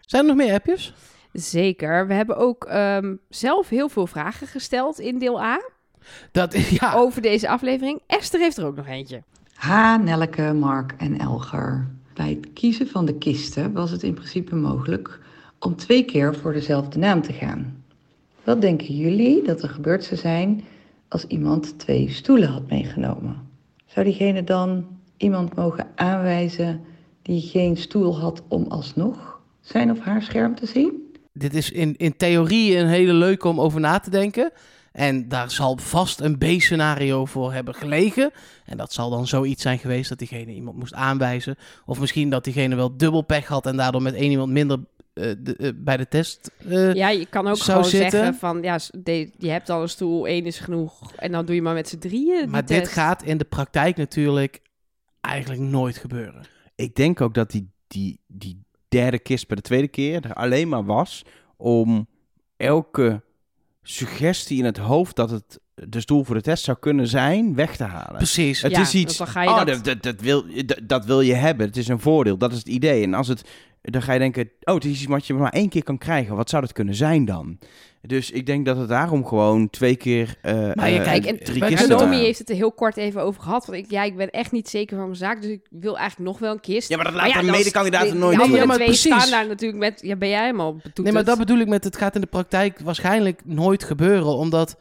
Zijn er nog meer appjes?
Zeker. We hebben ook ehm, zelf heel veel vragen gesteld in deel A
Dat, ja,
Oh.
over deze aflevering. Esther heeft er ook nog eentje.
Ha, Nelleke, Mark en Elger. Bij het kiezen van de kisten was het in principe mogelijk om twee keer voor dezelfde naam te gaan. Wat denken jullie dat er gebeurd zou zijn als iemand twee stoelen had meegenomen? Zou diegene dan iemand mogen aanwijzen die geen stoel had om alsnog zijn of haar scherm te zien?
dit is in, in theorie een hele leuke om over na te denken. En daar zal vast een B-scenario voor hebben gelegen. En dat zal dan zoiets zijn geweest dat diegene iemand moest aanwijzen. Of misschien dat diegene wel dubbel pech had en daardoor met één iemand minder eh, de- eh, bij de test. eh,
Ja, je kan ook
zou
gewoon
zitten.
zeggen van, ja, s- de- je hebt al een stoel, één is genoeg. En dan doe je maar met z'n drieën die
maar dit
test.
gaat in de praktijk natuurlijk eigenlijk nooit gebeuren.
Ik denk ook dat die, die, die derde kist bij de tweede keer er alleen maar was om elke suggestie in het hoofd dat het dus doel voor de test zou kunnen zijn, weg te halen.
Precies.
Het
Ja,
is iets.
want dan ga je
oh,
dat-
dat... Dat, dat, wil, dat, dat wil je hebben. Het is een voordeel. Dat is het idee. En als het. Dan ga je denken. Oh, het is iets wat je maar één keer kan krijgen. Wat zou dat kunnen zijn dan? Dus ik denk dat het daarom gewoon twee keer. eh
je
eh,
kijkt-
en
drie
bij
keer
Kisten
En Naomi
staan.
heeft het er heel kort even over gehad. Want ik, ja, ik ben echt niet zeker van mijn zaak. Dus ik wil eigenlijk nog wel een kist.
Ja, maar dat
Maar
laat
ja,
de
dan-
medekandidaten
die-
nooit
Die
doen.
Nee,
andere
ja, maar
twee
precies.
staan daar natuurlijk met... Ja, ben jij helemaal betoeterd?
Nee, maar dat bedoel ik met het gaat in de praktijk waarschijnlijk nooit gebeuren. Omdat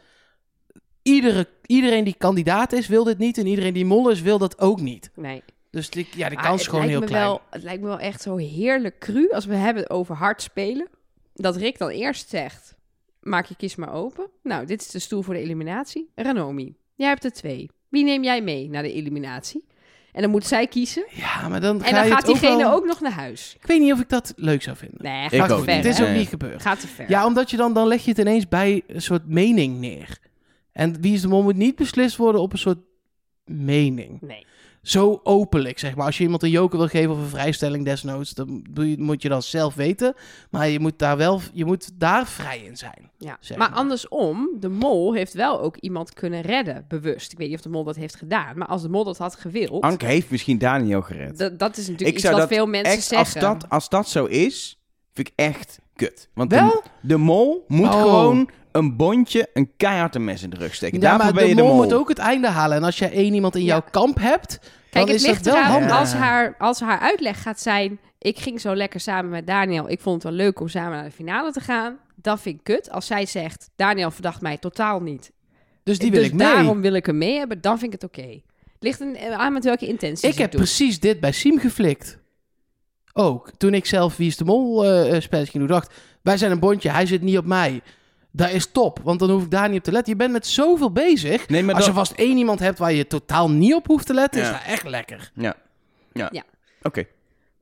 iedere, iedereen die kandidaat is, wil dit niet. En iedereen die mol is, wil dat ook niet.
Nee.
Dus die, ja, de
Maar
kans is
Ah, het
gewoon heel
lijkt me
klein.
Wel, het lijkt me wel echt zo heerlijk cru als we hebben over hard spelen. Dat Rick dan eerst zegt, maak je kist maar open. Nou, dit is de stoel voor de eliminatie. Ranomi, jij hebt er twee. Wie neem jij mee naar de eliminatie? En dan moet zij kiezen.
Ja, maar dan,
En
ga
dan
je
gaat
het ook
diegene
wel-
ook nog naar huis.
Ik weet niet of ik dat leuk zou vinden.
Nee,
Ik
gaat te
ook
ver.
niet.
het is
hè?
ook
Nee.
niet gebeurd.
Gaat te ver.
Ja, omdat je dan, dan leg je het ineens bij een soort mening neer. En wie is de mol moet niet beslist worden op een soort mening.
Nee.
Zo openlijk, zeg maar. Als je iemand een joker wil geven of een vrijstelling desnoods, dan doe je- moet je dat zelf weten. Maar je moet daar wel, je moet daar vrij in zijn.
Ja.
zeg
maar
maar.
andersom, de mol heeft wel ook iemand kunnen redden, bewust. Ik weet niet of de mol dat heeft gedaan, maar als de mol dat had gewild,
Anke heeft misschien Daniel gered.
dat, dat is
Dus
natuurlijk
Ik
iets
zou
wat
dat
veel mensen
Echt, als,
zeggen.
dat, als dat zo is, vind ik echt kut. Want
Wel?
De, de mol moet
Oh.
gewoon een bondje, een keihard een mes in de rug steken.
ja,
Daarvoor
maar
ben
de
je de
mol
mol.
moet ook het einde halen. En als jij één iemand in
Ja.
jouw kamp hebt, dan
Kijk, het
is dat
ligt
wel
eraan
handig.
als haar, als haar uitleg gaat zijn... ik ging zo lekker samen met Daniel. Ik vond het wel leuk om samen naar de finale te gaan. Dat vind ik kut. Als zij zegt, Daniel verdacht mij totaal niet.
Dus die wil
dus
ik mee.
daarom wil ik hem mee hebben. Dan vind ik het oké. Het ligt een- aan met welke intentie
Ik
ze
heb
het dus doet.
precies dit bij Siem geflikt. Ook. Toen ik zelf Wie is de Mol eh eh, spelletje ging doen, dacht... Wij zijn een bondje, hij zit niet op mij. Dat is top, want dan hoef ik daar niet op te letten. Je bent met zoveel bezig.
Nee, maar
Als je
dat...
vast één iemand hebt waar je totaal niet op hoeft te letten, is
Ja.
dat echt lekker.
Ja. Ja.
Ja.
Oké.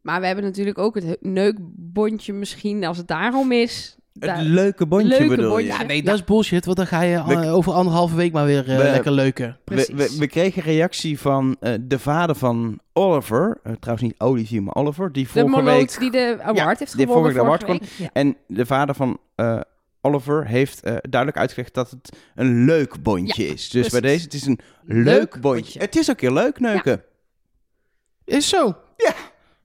Maar we hebben natuurlijk ook het neukbondje misschien, als het daarom is.
Het
Daar-
leuke bondje
leuke
bedoel
bondje.
je?
Ja,
Nee, dat is bullshit, want dan ga je eh,
We-
over anderhalve week maar weer eh,
We-
lekker leuken.
We, we,
Precies.
we kregen reactie van eh, de vader van Oliver. Eh, trouwens niet Olivier, maar Oliver. Die
De
vorige week...
moloot die de award
Ja,
heeft
die
gewonnen
vorige de
vorige,
award
week. Ja.
En de vader van eh, Oliver heeft eh, duidelijk uitgelegd dat het een leuk bondje
Ja,
is. Dus bij
precies.
deze, het is een
Leuk
leuk, bondje.
bondje.
Het is ook heel leuk neuken.
Is zo.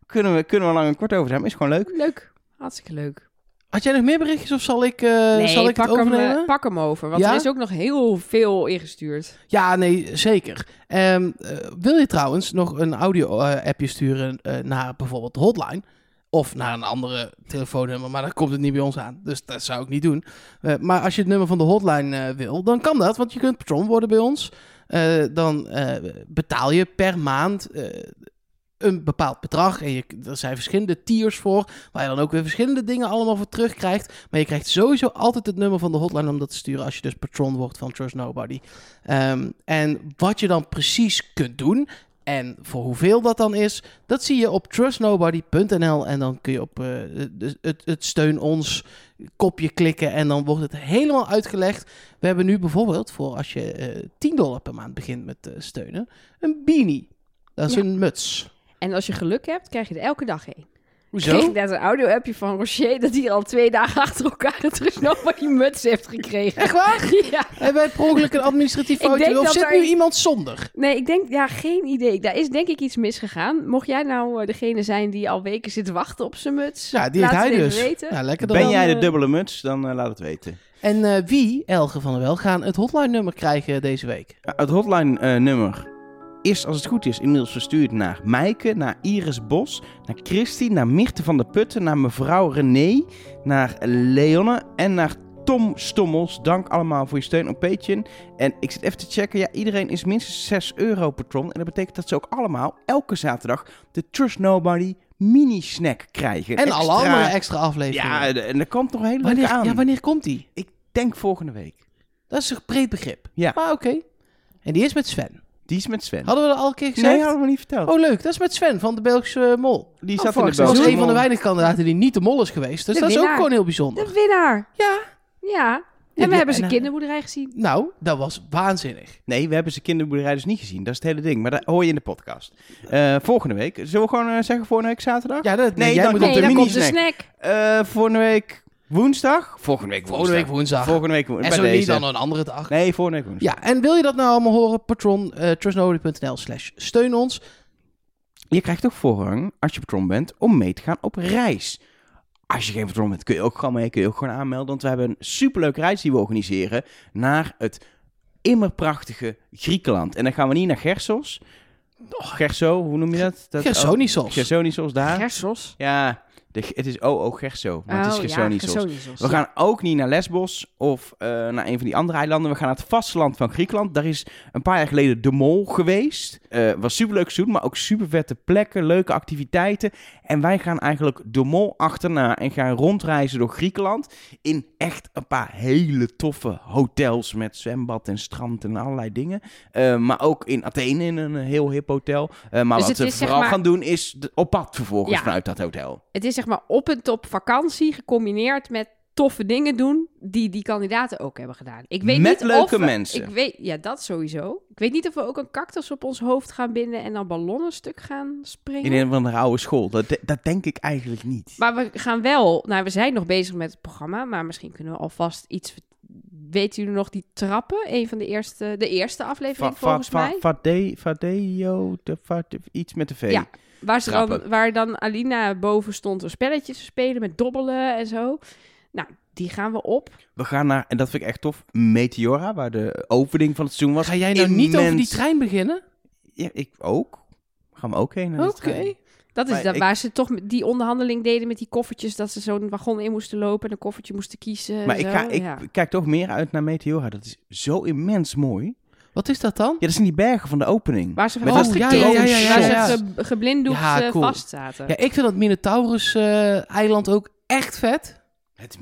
Kunnen, we, kunnen we lang en kort over zijn, maar is gewoon leuk.
Leuk. Hartstikke leuk.
Had jij nog meer berichtjes of zal ik, eh, zal ik
pak,
het
hem,
overnemen?
eh, pak hem over, want
Ja?
er is ook nog heel veel ingestuurd.
Ja, nee, zeker. Ehm, eh, wil je trouwens nog een audio-appje sturen eh, naar bijvoorbeeld de hotline? Of naar een andere telefoonnummer, maar dan komt het niet bij ons aan. Dus dat zou ik niet doen. Eh, maar als je het nummer van de hotline eh, wil, dan kan dat. Want je kunt patron worden bij ons. Eh, dan eh, betaal je per maand eh, een bepaald bedrag. En je, er zijn verschillende tiers voor, waar je dan ook weer verschillende dingen allemaal voor terugkrijgt. Maar je krijgt sowieso altijd het nummer van de hotline om dat te sturen als je dus patron wordt van Trust Nobody. Ehm, en wat je dan precies kunt doen en voor hoeveel dat dan is, dat zie je op trustnobody.nl. En dan kun je op eh, de- het, het steun ons kopje klikken en dan wordt het helemaal uitgelegd. We hebben nu bijvoorbeeld voor als je eh 10 dollar per maand begint met eh, steunen, een beanie. Dat is
Ja.
een muts.
En als je geluk hebt, krijg je er elke dag heen. Ik kreeg
Hoezo?
net een audio-appje van Rocher dat hij al twee dagen achter elkaar het die muts heeft gekregen.
Echt waar?
Ja,
Hebben Eh, wij per ongeluk een
Ik
administratief
denk
foutje? Of
dat
zit
er-
nu iemand zonder?
nee, ik denk, ja, geen idee. Daar is denk ik iets misgegaan. Mocht jij nou eh, degene zijn die al weken zit te wachten op zijn muts,
Ja, die
laat
heeft hij
het even
dus.
weten.
Ja, lekker dan.
Ben jij de
eh,
dubbele muts, dan eh, laat het weten.
En eh, wie, Elge van der Wel, gaan het hotline-nummer krijgen deze week?
Ja, Het hotline-nummer is, als het goed is, inmiddels verstuurd naar Mijke, naar Iris Bos, naar Christy, naar Mirte van der Putten, naar mevrouw René, naar Leonne en naar Tom Stommels. Dank allemaal voor je steun op Patreon. En ik zit even te checken, ja, iedereen is minstens 6 euro patron. En dat betekent dat ze ook allemaal elke zaterdag de Trust Nobody mini-snack krijgen.
En alle
Extra-
andere extra afleveringen.
Ja, en er komt nog een hele leuke
wanneer,
aan.
ja, wanneer komt die?
Ik denk volgende week.
Dat is een breed begrip.
Ja.
Maar oké. En die is met Sven.
Die is met Sven.
Hadden we dat al een keer
Nee,
gezegd?
hadden we niet verteld.
Oh, leuk. Dat is met Sven van de Belgische eh, Mol.
die zat
oh,
in de
volgens mij
Dat
Belgische
is een van de
Mol.
weinige kandidaten die niet de Mol is geweest. Dus
De
dat is ook
winnaar.
gewoon heel bijzonder.
De winnaar.
Ja.
Ja. En
Ja,
we
die-
hebben zijn
en, eh,
kinderboerderij gezien.
Nou, dat was waanzinnig.
Nee, we hebben zijn kinderboerderij dus niet gezien. Dat is het hele ding. Maar dat hoor je in de podcast. Eh, volgende week. Zullen we gewoon eh, zeggen volgende week zaterdag?
Ja, dat,
Nee,
jij
dan
moet
komt
op
Nee,
de
de
daar
mini...
komt de snack.
Eh, volgende week Woensdag? Volgende week woensdag.
Volgende week woensdag.
Volgende week woensdag.
en zo
Bij
niet
deze.
dan een andere dag.
Nee, volgende week woensdag.
Ja, en wil je dat nou allemaal horen? Patron, eh trustnobody.nl slash steun ons.
Je krijgt ook voorrang, als je patron bent, om mee te gaan op reis. Als je geen patron bent, kun je ook gewoon mee, kun je ook gewoon aanmelden. Want we hebben een superleuke reis die we organiseren naar het immerprachtige Griekenland. En dan gaan we niet naar Gersos. Gerso, hoe noem je dat? dat
Gersonisos.
Oh, Gersonisos daar.
Gersos.
ja, de, het is OO Gerso, maar het is
Oh, ja,
Gersonisos.
Gersonisos.
We gaan ook niet naar Lesbos of eh, naar een van die andere eilanden. We gaan naar het vasteland van Griekenland. Daar is een paar jaar geleden de Mol geweest. Eh was superleuk te doen, maar ook super vette plekken, leuke activiteiten. En wij gaan eigenlijk de Mol achterna en gaan rondreizen door Griekenland. In echt een paar hele toffe hotels met zwembad en strand en allerlei dingen. Eh, maar ook in Athene in een heel hip hotel. Eh, maar
Dus
wat
het
we
is zeg
vooral
maar-
gaan doen is de- op pad vervolgens
Ja.
vanuit dat hotel.
Het is zeg maar op en top vakantie gecombineerd met toffe dingen doen die die kandidaten ook hebben gedaan. Ik weet
Met
niet
leuke
of we-
mensen.
Ik weet, ja, dat sowieso. Ik weet niet of we ook een cactus op ons hoofd gaan binden en dan ballonnen stuk gaan springen.
In een van de oude school. Dat, de- dat denk ik eigenlijk niet.
Maar we gaan wel, nou we zijn nog bezig met het programma, maar misschien kunnen we alvast iets... ver- Weten jullie nog die trappen? Een van de eerste, de eerste aflevering volgens mij.
Vadeo, Vadeo, de Vade- iets met de V.
Ja. Waar, ze dan,
Trappen.
waar dan Alina boven stond een spelletje te spelen met dobbelen en zo. Nou, die gaan we op.
We gaan naar, en dat vind ik echt tof, Meteora, waar de opening van het seizoen was.
Ga jij nou niet over die trein beginnen?
Ja, ik ook. Gaan we ook heen naar
Oké.
de trein.
Dat is
Maar
dat,
ik-
waar ze toch met die onderhandeling deden met die koffertjes. Dat ze zo'n wagon in moesten lopen en een koffertje moesten kiezen. en
Maar ik,
eh, zo,
ga, ik
ja.
kijk toch meer uit naar Meteora. Dat is zo immens mooi.
Wat is dat dan?
Ja, dat zijn die bergen van de opening.
Waar ze
Met
dat-
vastgeketend,
ja, ja, ja, ja,
waar
ja.
ze ge- geblinddoekt
Ja,
eh,
cool.
vast zaten.
Ja, ik vind dat Minotaurus-eiland ook echt vet.
Het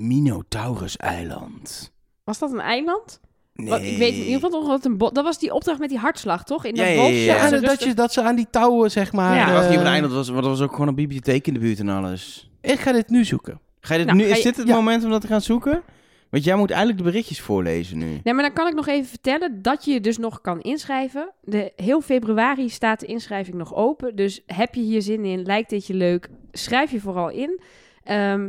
Minotaurus-eiland.
Was dat een eiland?
Nee.
Want Ik weet in ieder geval nog dat een bos... Dat was die opdracht met die hartslag, toch? In dat
Ja, ja, ja,
bos.
ja.
Ja,
ze
en dat,
rustig-
je, dat ze aan die touwen, zeg maar...
Ja.
Ja, was
eh,
niet op een eiland, was, want er was ook gewoon een bibliotheek in de buurt en alles.
Ik ga dit nu zoeken.
Ga je dit
Nou,
nu,
ga
is
je-
dit het
ja.
moment om dat te gaan zoeken? Want jij moet eigenlijk de berichtjes voorlezen nu.
Nee, maar dan kan ik nog even vertellen dat je je dus nog kan inschrijven. De, heel februari staat de inschrijving nog open. Dus heb je hier zin in? Lijkt dit je leuk? Schrijf je vooral in. Ehm,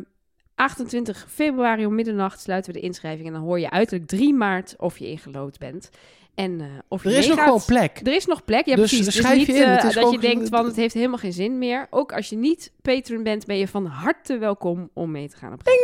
28 februari om middernacht sluiten we de inschrijving. En dan hoor je uiterlijk 3 maart of je ingelood bent. En eh, of je
Er is nog
meegaat.
gewoon plek.
Er is nog plek, ja
Dus
precies. Het is
schrijf je
niet,
in.
eh,
Het is
dat je
gewoon-
denkt, want het heeft helemaal geen zin meer. Ook als je niet patron bent, ben je van harte welkom om mee te gaan op reis.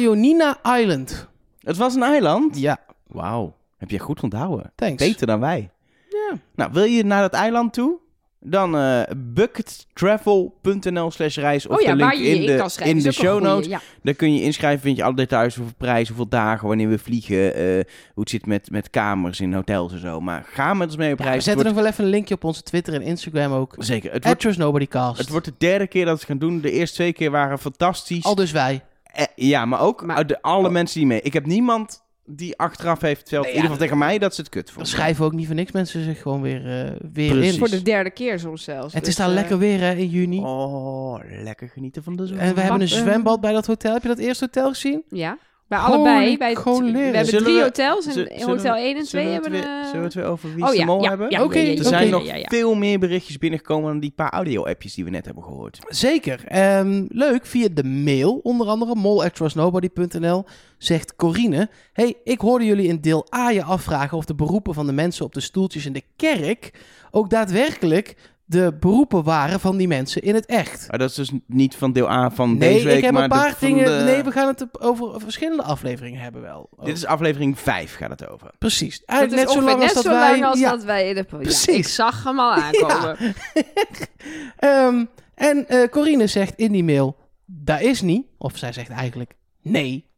Ionina Island.
Het was een eiland?
Ja,
Wauw. Heb je goed onthouden.
thanks.
Beter dan wij.
Ja.
Nou, wil je naar dat eiland toe? Dan eh, buckettravel.nl slash reis of
oh ja,
de link
waar je je
in de,
in kan
in
schrijven. is
de
ook een
show
goeie,
notes.
ja.
Daar kun je je inschrijven, vind je alle details over prijs, hoeveel dagen, wanneer we vliegen, eh, hoe het zit met, met kamers in hotels en zo. Maar ga met ons mee op
Ja,
reis.
we
Het
zetten
wordt-
nog wel even een linkje op onze Twitter en Instagram ook.
Zeker. Het
At
wordt,
Trust Nobody Cast.
het wordt de derde keer dat we het gaan doen. De eerste twee keer waren fantastisch.
Al dus wij.
Eh, ja, maar ook
Maar-
uit de, alle mensen die mee. Ik heb niemand die achteraf heeft verteld,
Nee,
in
ja,
ieder geval tegen mij, dat ze het kut
Dan
vonden.
schrijven we ook niet voor niks mensen zich gewoon weer, eh, weer
Precies.
in.
Voor de derde keer soms zelfs.
Het
Dus,
is daar
eh,
lekker weer hè, in juni.
Oh, lekker genieten van de zon.
En we hebben een
Wacht, eh.
zwembad bij dat hotel. Heb je dat eerste hotel gezien?
Ja, bij
Holy
allebei. Bij het- we
colera.
hebben
Zullen
drie
we-
hotels. En
Zul- zullen
hotel
we-
1 en 2
zullen we
hebben...
het weer-
eh,
Zullen we het weer over Wie
Oh
is de
ja,
Mol
ja,
hebben?
ja, ja,
Oké,
ja, ja,
Er
ja,
zijn
ja,
nog
ja, ja.
veel meer berichtjes binnengekomen dan die paar audio-appjes die we net hebben gehoord.
Zeker. Ehm, leuk, via de mail onder andere, mol.trustnobody.nl, zegt Corine... hey, ik hoorde jullie in deel A je afvragen of de beroepen van de mensen op de stoeltjes in de kerk... ook daadwerkelijk de beroepen waren van die mensen in het echt.
Maar dat is dus niet van deel A van
Nee,
deze week,
ik heb
maar
een
de-
paar
van
dingen...
de-
Nee, we gaan het op- over verschillende afleveringen hebben wel.
Dit is aflevering 5 gaat het over.
Precies.
dat is
Eigenlijk net zo
ongeveer
lang als dat
zo
wij...
lang als
ja.
dat wij in de... Precies.
Precies.
ik zag hem al aankomen.
Ehm, en eh, Corine zegt in die mail, dat is niet. Of zij zegt eigenlijk nee.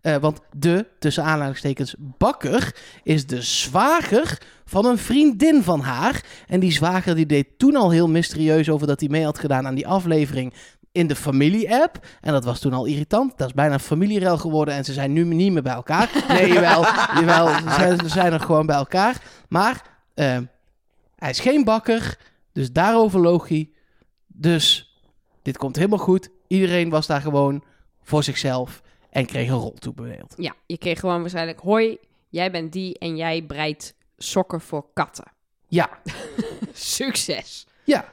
Eh, want de, tussen aanhalingstekens, bakker is de zwager van een vriendin van haar. En die zwager die deed toen al heel mysterieus over dat hij mee had gedaan aan die aflevering in de familie-app. En dat was toen al irritant. Dat is bijna een familierel geworden en ze zijn nu niet meer bij elkaar. Nee, jawel, jawel ze, zijn, ze zijn nog gewoon bij elkaar. Maar eh, hij is geen bakker, dus daarover loog hij. Dus dit komt helemaal goed. Iedereen was daar gewoon voor zichzelf en kreeg een rol toebedeeld.
Ja, je kreeg gewoon waarschijnlijk... Hoi, jij bent die en jij breidt sokken voor katten.
Ja,
Succes.
ja.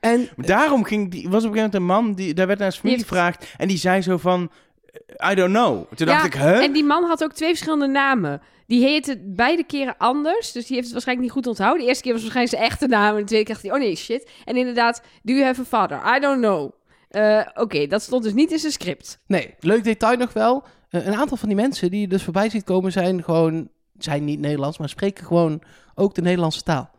En
Maar Daarom ging die, was op een gegeven moment een man, die, daar werd naar zijn familie
heeft-
gevraagd. En die zei zo van, I don't know. Toen dacht
Ja,
ik, huh?
En die man had ook twee verschillende namen. Die heette beide keren anders. Dus die heeft het waarschijnlijk niet goed onthouden. De eerste keer was waarschijnlijk zijn echte naam. En de tweede keer dacht hij, oh nee, shit. En inderdaad, do you have a father? I don't know. Eh, Oké, dat stond dus niet in zijn script.
nee, leuk detail nog wel. Eh, een aantal van die mensen die je dus voorbij ziet komen zijn gewoon, zijn niet Nederlands, maar spreken gewoon ook de Nederlandse taal.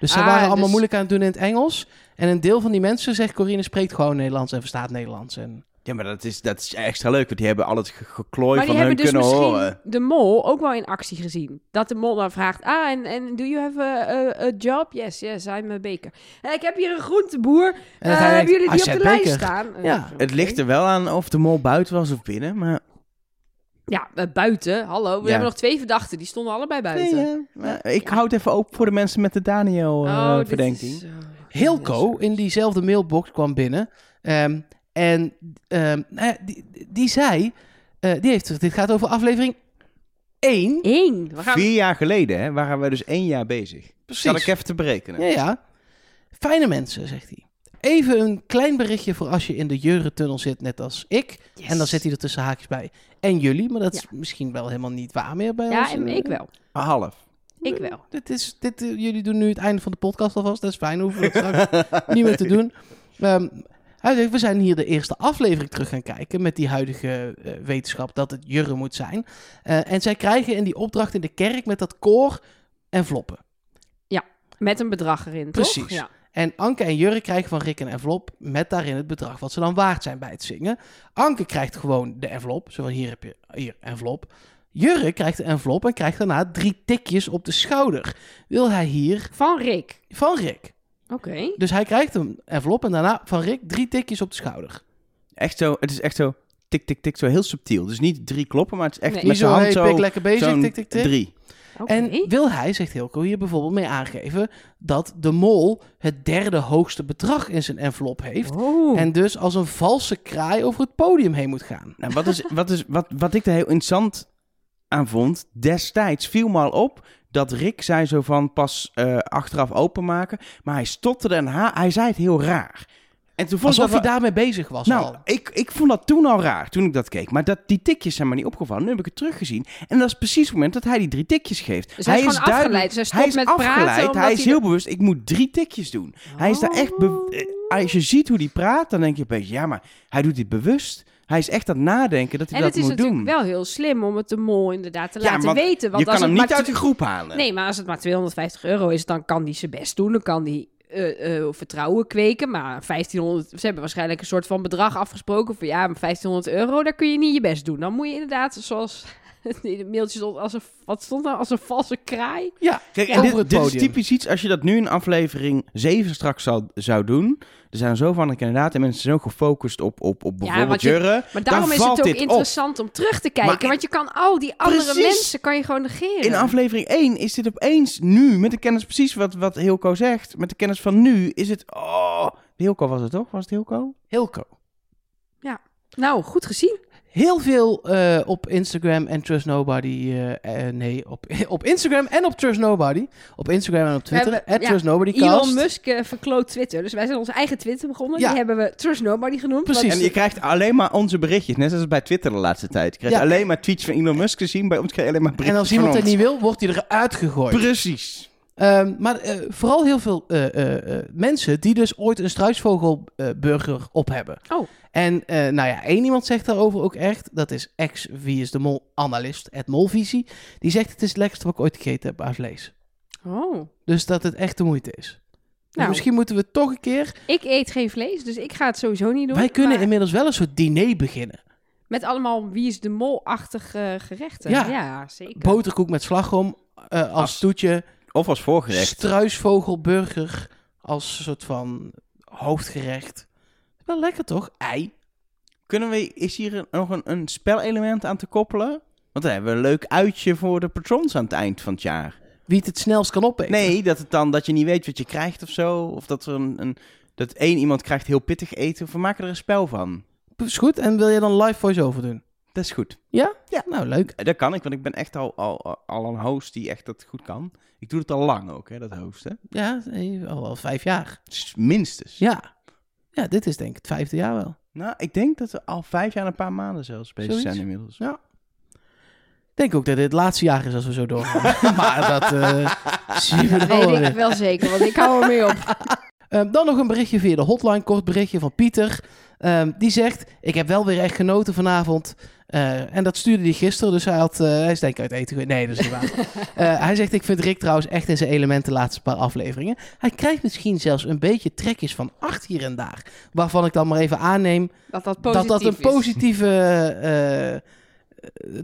Dus zij
Ah,
waren allemaal
dus-
moeilijk aan het doen in het Engels. En een deel van die mensen, zegt Corine, spreekt gewoon Nederlands en verstaat Nederlands. En
Ja, maar dat is, dat is extra leuk, want die hebben al het ge- geklooi
maar die
van hun
hebben dus
kunnen
misschien
horen.
de mol ook wel in actie gezien. Dat de mol dan vraagt, ah, en en do you have a, a, a job? Yes, yes, I'm a baker. Eh, ik heb hier een groenteboer.
En
Eh,
hij
hebben
denkt,
jullie die
"Ah,
op de
Seth
lijst
Baker."
staan? Eh,
Ja.
oké.
Het ligt er wel aan of de mol buiten was of binnen, maar...
Ja, eh, buiten. Hallo, we
Ja.
hebben nog twee verdachten. Die stonden allebei buiten.
Nee, ja, maar ik hou het even open voor de mensen met de
Oh, dit
Daniel-verdenking.
is, eh,
Hilco in diezelfde mailbox kwam binnen. Ehm, en ehm, nou ja, die, die zei, eh, die heeft, dit gaat over aflevering 1.
Eén. We gaan...
Vier jaar geleden hè, waren we dus één jaar bezig. Zal ik even te berekenen.
Ja, ja. Fijne mensen, zegt hij. Even een klein berichtje voor als je in de Jeurentunnel zit, net als ik.
Yes.
En dan zet hij er tussen haakjes bij. En jullie, maar dat is misschien wel helemaal niet waar meer bij ons. eh,
Ja, en ik wel.
Een Half.
Ik wel.
Dit is, dit, eh, jullie doen nu het einde van de podcast alvast. Dat is fijn, hoeven we het straks niet meer te doen. Ehm, hij zegt, we zijn hier de eerste aflevering terug gaan kijken met die huidige eh, wetenschap dat het jurren moet zijn. Eh, en zij krijgen in die opdracht in de kerk met dat koor en floppen.
Met een bedrag erin, toch?
Precies.
Ja.
En Anke en Jurre krijgen van Rick een envelop met daarin het bedrag wat ze dan waard zijn bij het zingen. Anke krijgt gewoon de envelop, zo van hier heb je, hier, envelop. Jurre krijgt de envelop en krijgt daarna drie tikjes op de schouder. Wil hij hier
Van Rick.
van Rick.
Oké.
Dus hij krijgt een envelop en daarna van Rick drie tikjes op de schouder.
Echt zo, het is echt zo tik, tik, tik, zo heel subtiel. Dus niet drie kloppen, maar het is echt
Nee.
met
Niet
zijn
zo,
hand
hey,
zo,
pik, lekker bezig,
zo'n
tik, tik, tik.
drie.
Oké.
En wil hij, zegt Hilco, hier bijvoorbeeld mee aangeven dat de mol het derde hoogste bedrag in zijn envelop heeft.
Oh.
En dus als een valse kraai over het podium heen moet gaan.
Nou, wat, is, wat, is, wat, wat ik er heel interessant aan vond, destijds viel me al op dat Rick zei zo van pas eh, achteraf openmaken. Maar hij stotterde en ha- hij zei het heel raar. En toen vond ik
Alsof
dat
hij
wel-
daarmee bezig was
Nou,
al.
ik, ik vond dat toen al raar, toen ik dat keek. Maar dat, die tikjes zijn me niet opgevallen. Nu heb ik het teruggezien. En dat is precies het moment dat hij die drie tikjes geeft.
Dus hij is gewoon
duidelijk-
afgeleid. Dus hij stopt
hij is
met praten,
afgeleid.
omdat
hij is
hij
heel
de- Oh.
bewust, ik moet drie tikjes doen. Hij is daar echt... be- eh, Als je ziet hoe hij praat, dan denk je opeens... Ja, maar hij doet dit bewust. Hij is echt aan het nadenken dat hij
En
dat
het is
moet
natuurlijk
doen.
wel heel slim om het de mol inderdaad te
Ja,
laten
want
weten. Want
je kan
als
hem
het
niet
maar
uit de groep halen.
Nee, maar als het maar 250 euro is, dan kan die zijn best doen. Dan kan die eh, eh, vertrouwen kweken. Maar 1500, ze hebben waarschijnlijk een soort van bedrag afgesproken. Van ja, maar 1500 euro, daar kun je niet je best doen. Dan moet je inderdaad, zoals in het mailtje stond, als een, wat stond nou, als een valse kraai.
Ja,
Kijk, en
over
dit,
het
dit is
podium.
typisch iets, als je dat nu in aflevering 7 straks zou, zou doen... Er zijn zo van kandidaten en mensen zijn zo gefocust op, op, op bijvoorbeeld
want je-
Jurre. dan
Maar daarom is
valt
het ook
dit op.
interessant om terug te kijken.
Maar in-
want je kan al die andere
Precies.
mensen kan je gewoon negeren.
In aflevering 1 is dit opeens nu, met de kennis precies wat, wat Hilco zegt, met de kennis van nu, is het... Oh, Hilco was het toch? Was het Hilco?
Hilco.
nou, goed gezien.
Heel veel eh, op Instagram en Trust Nobody. eh, eh, nee, op, op Instagram en op Trust Nobody. Op Instagram en op Twitter.
hebben-
at
ja,
Trust Nobody
Elon Musk eh, verkloot Twitter. Dus wij zijn onze eigen Twitter begonnen.
Ja.
Die hebben we Trust Nobody genoemd.
Precies.
want-
En je krijgt alleen maar onze berichtjes, net zoals bij Twitter de laatste tijd. Je krijgt
Ja.
alleen maar tweets van Elon Musk te zien, bij ons krijg je alleen maar
En
berichtjes
als iemand
van
het
ons.
niet wil, wordt hij eruit gegooid.
Precies.
Ehm, maar eh, vooral heel veel eh, eh, eh, mensen die dus ooit een struisvogelburger op hebben.
Oh.
En eh, nou ja, één iemand zegt daarover ook echt. Dat is ex wie is de mol analist at Molvisie. Die zegt het is het lekkerste wat ik ooit gegeten heb uit vlees.
Oh.
Dus dat het echt de moeite is. Dus
Nou.
misschien moeten we toch een keer...
Ik eet geen vlees, dus ik ga het sowieso niet doen.
Wij kunnen
maar
inmiddels wel een soort diner beginnen.
Met allemaal wie is de mol-achtige eh, gerechten.
Ja.
Ja, zeker.
Boterkoek met slagroom eh, als
Af-
toetje.
Of als voorgerecht.
Struisvogelburger als soort van hoofdgerecht. Wel lekker toch? Ei.
Kunnen we, is hier een- nog een, een spelelement aan te koppelen? Want dan hebben we een leuk uitje voor de patrons aan het eind van het jaar.
Wie het het snelst kan opeten.
Nee, dat het dan dat je niet weet wat je krijgt of zo. Of dat er een, een dat één iemand krijgt heel pittig eten. Of we maken er een spel van.
Is goed. En wil je dan live voice-over doen?
Dat is goed. Eh,
Nou, leuk.
Dat kan ik, want ik ben echt al, al, al een host die echt dat goed kan. Ik doe het al lang ook, hè, dat hosten.
Ja, nee, al, al vijf jaar.
Dus Minstens.
Ja. Ja, dit is denk ik het vijfde jaar wel.
Nou, ik denk dat we al vijf jaar en een paar maanden zelfs bezig
Zoiets.
zijn inmiddels.
Ja. Ik denk ook dat dit het laatste jaar is als we zo doorgaan. maar dat eh, zien we
Dat
dan wel
weet ik
weer.
wel zeker, want ik hou ermee op.
Ehm, dan nog een berichtje via de hotline, kort berichtje van Pieter. Ehm, die zegt, ik heb wel weer echt genoten vanavond. Eh, en dat stuurde hij gisteren, dus hij, had, eh, hij is denk ik uit eten geweest. Nee, dat is niet waar. Eh, hij zegt, ik vind Rick trouwens echt in zijn elementen de laatste paar afleveringen. Hij krijgt misschien zelfs een beetje trekjes van acht hier en daar. Waarvan ik dan maar even aanneem
Dat dat
dat
positief
dat een
is.
positieve eh, eh,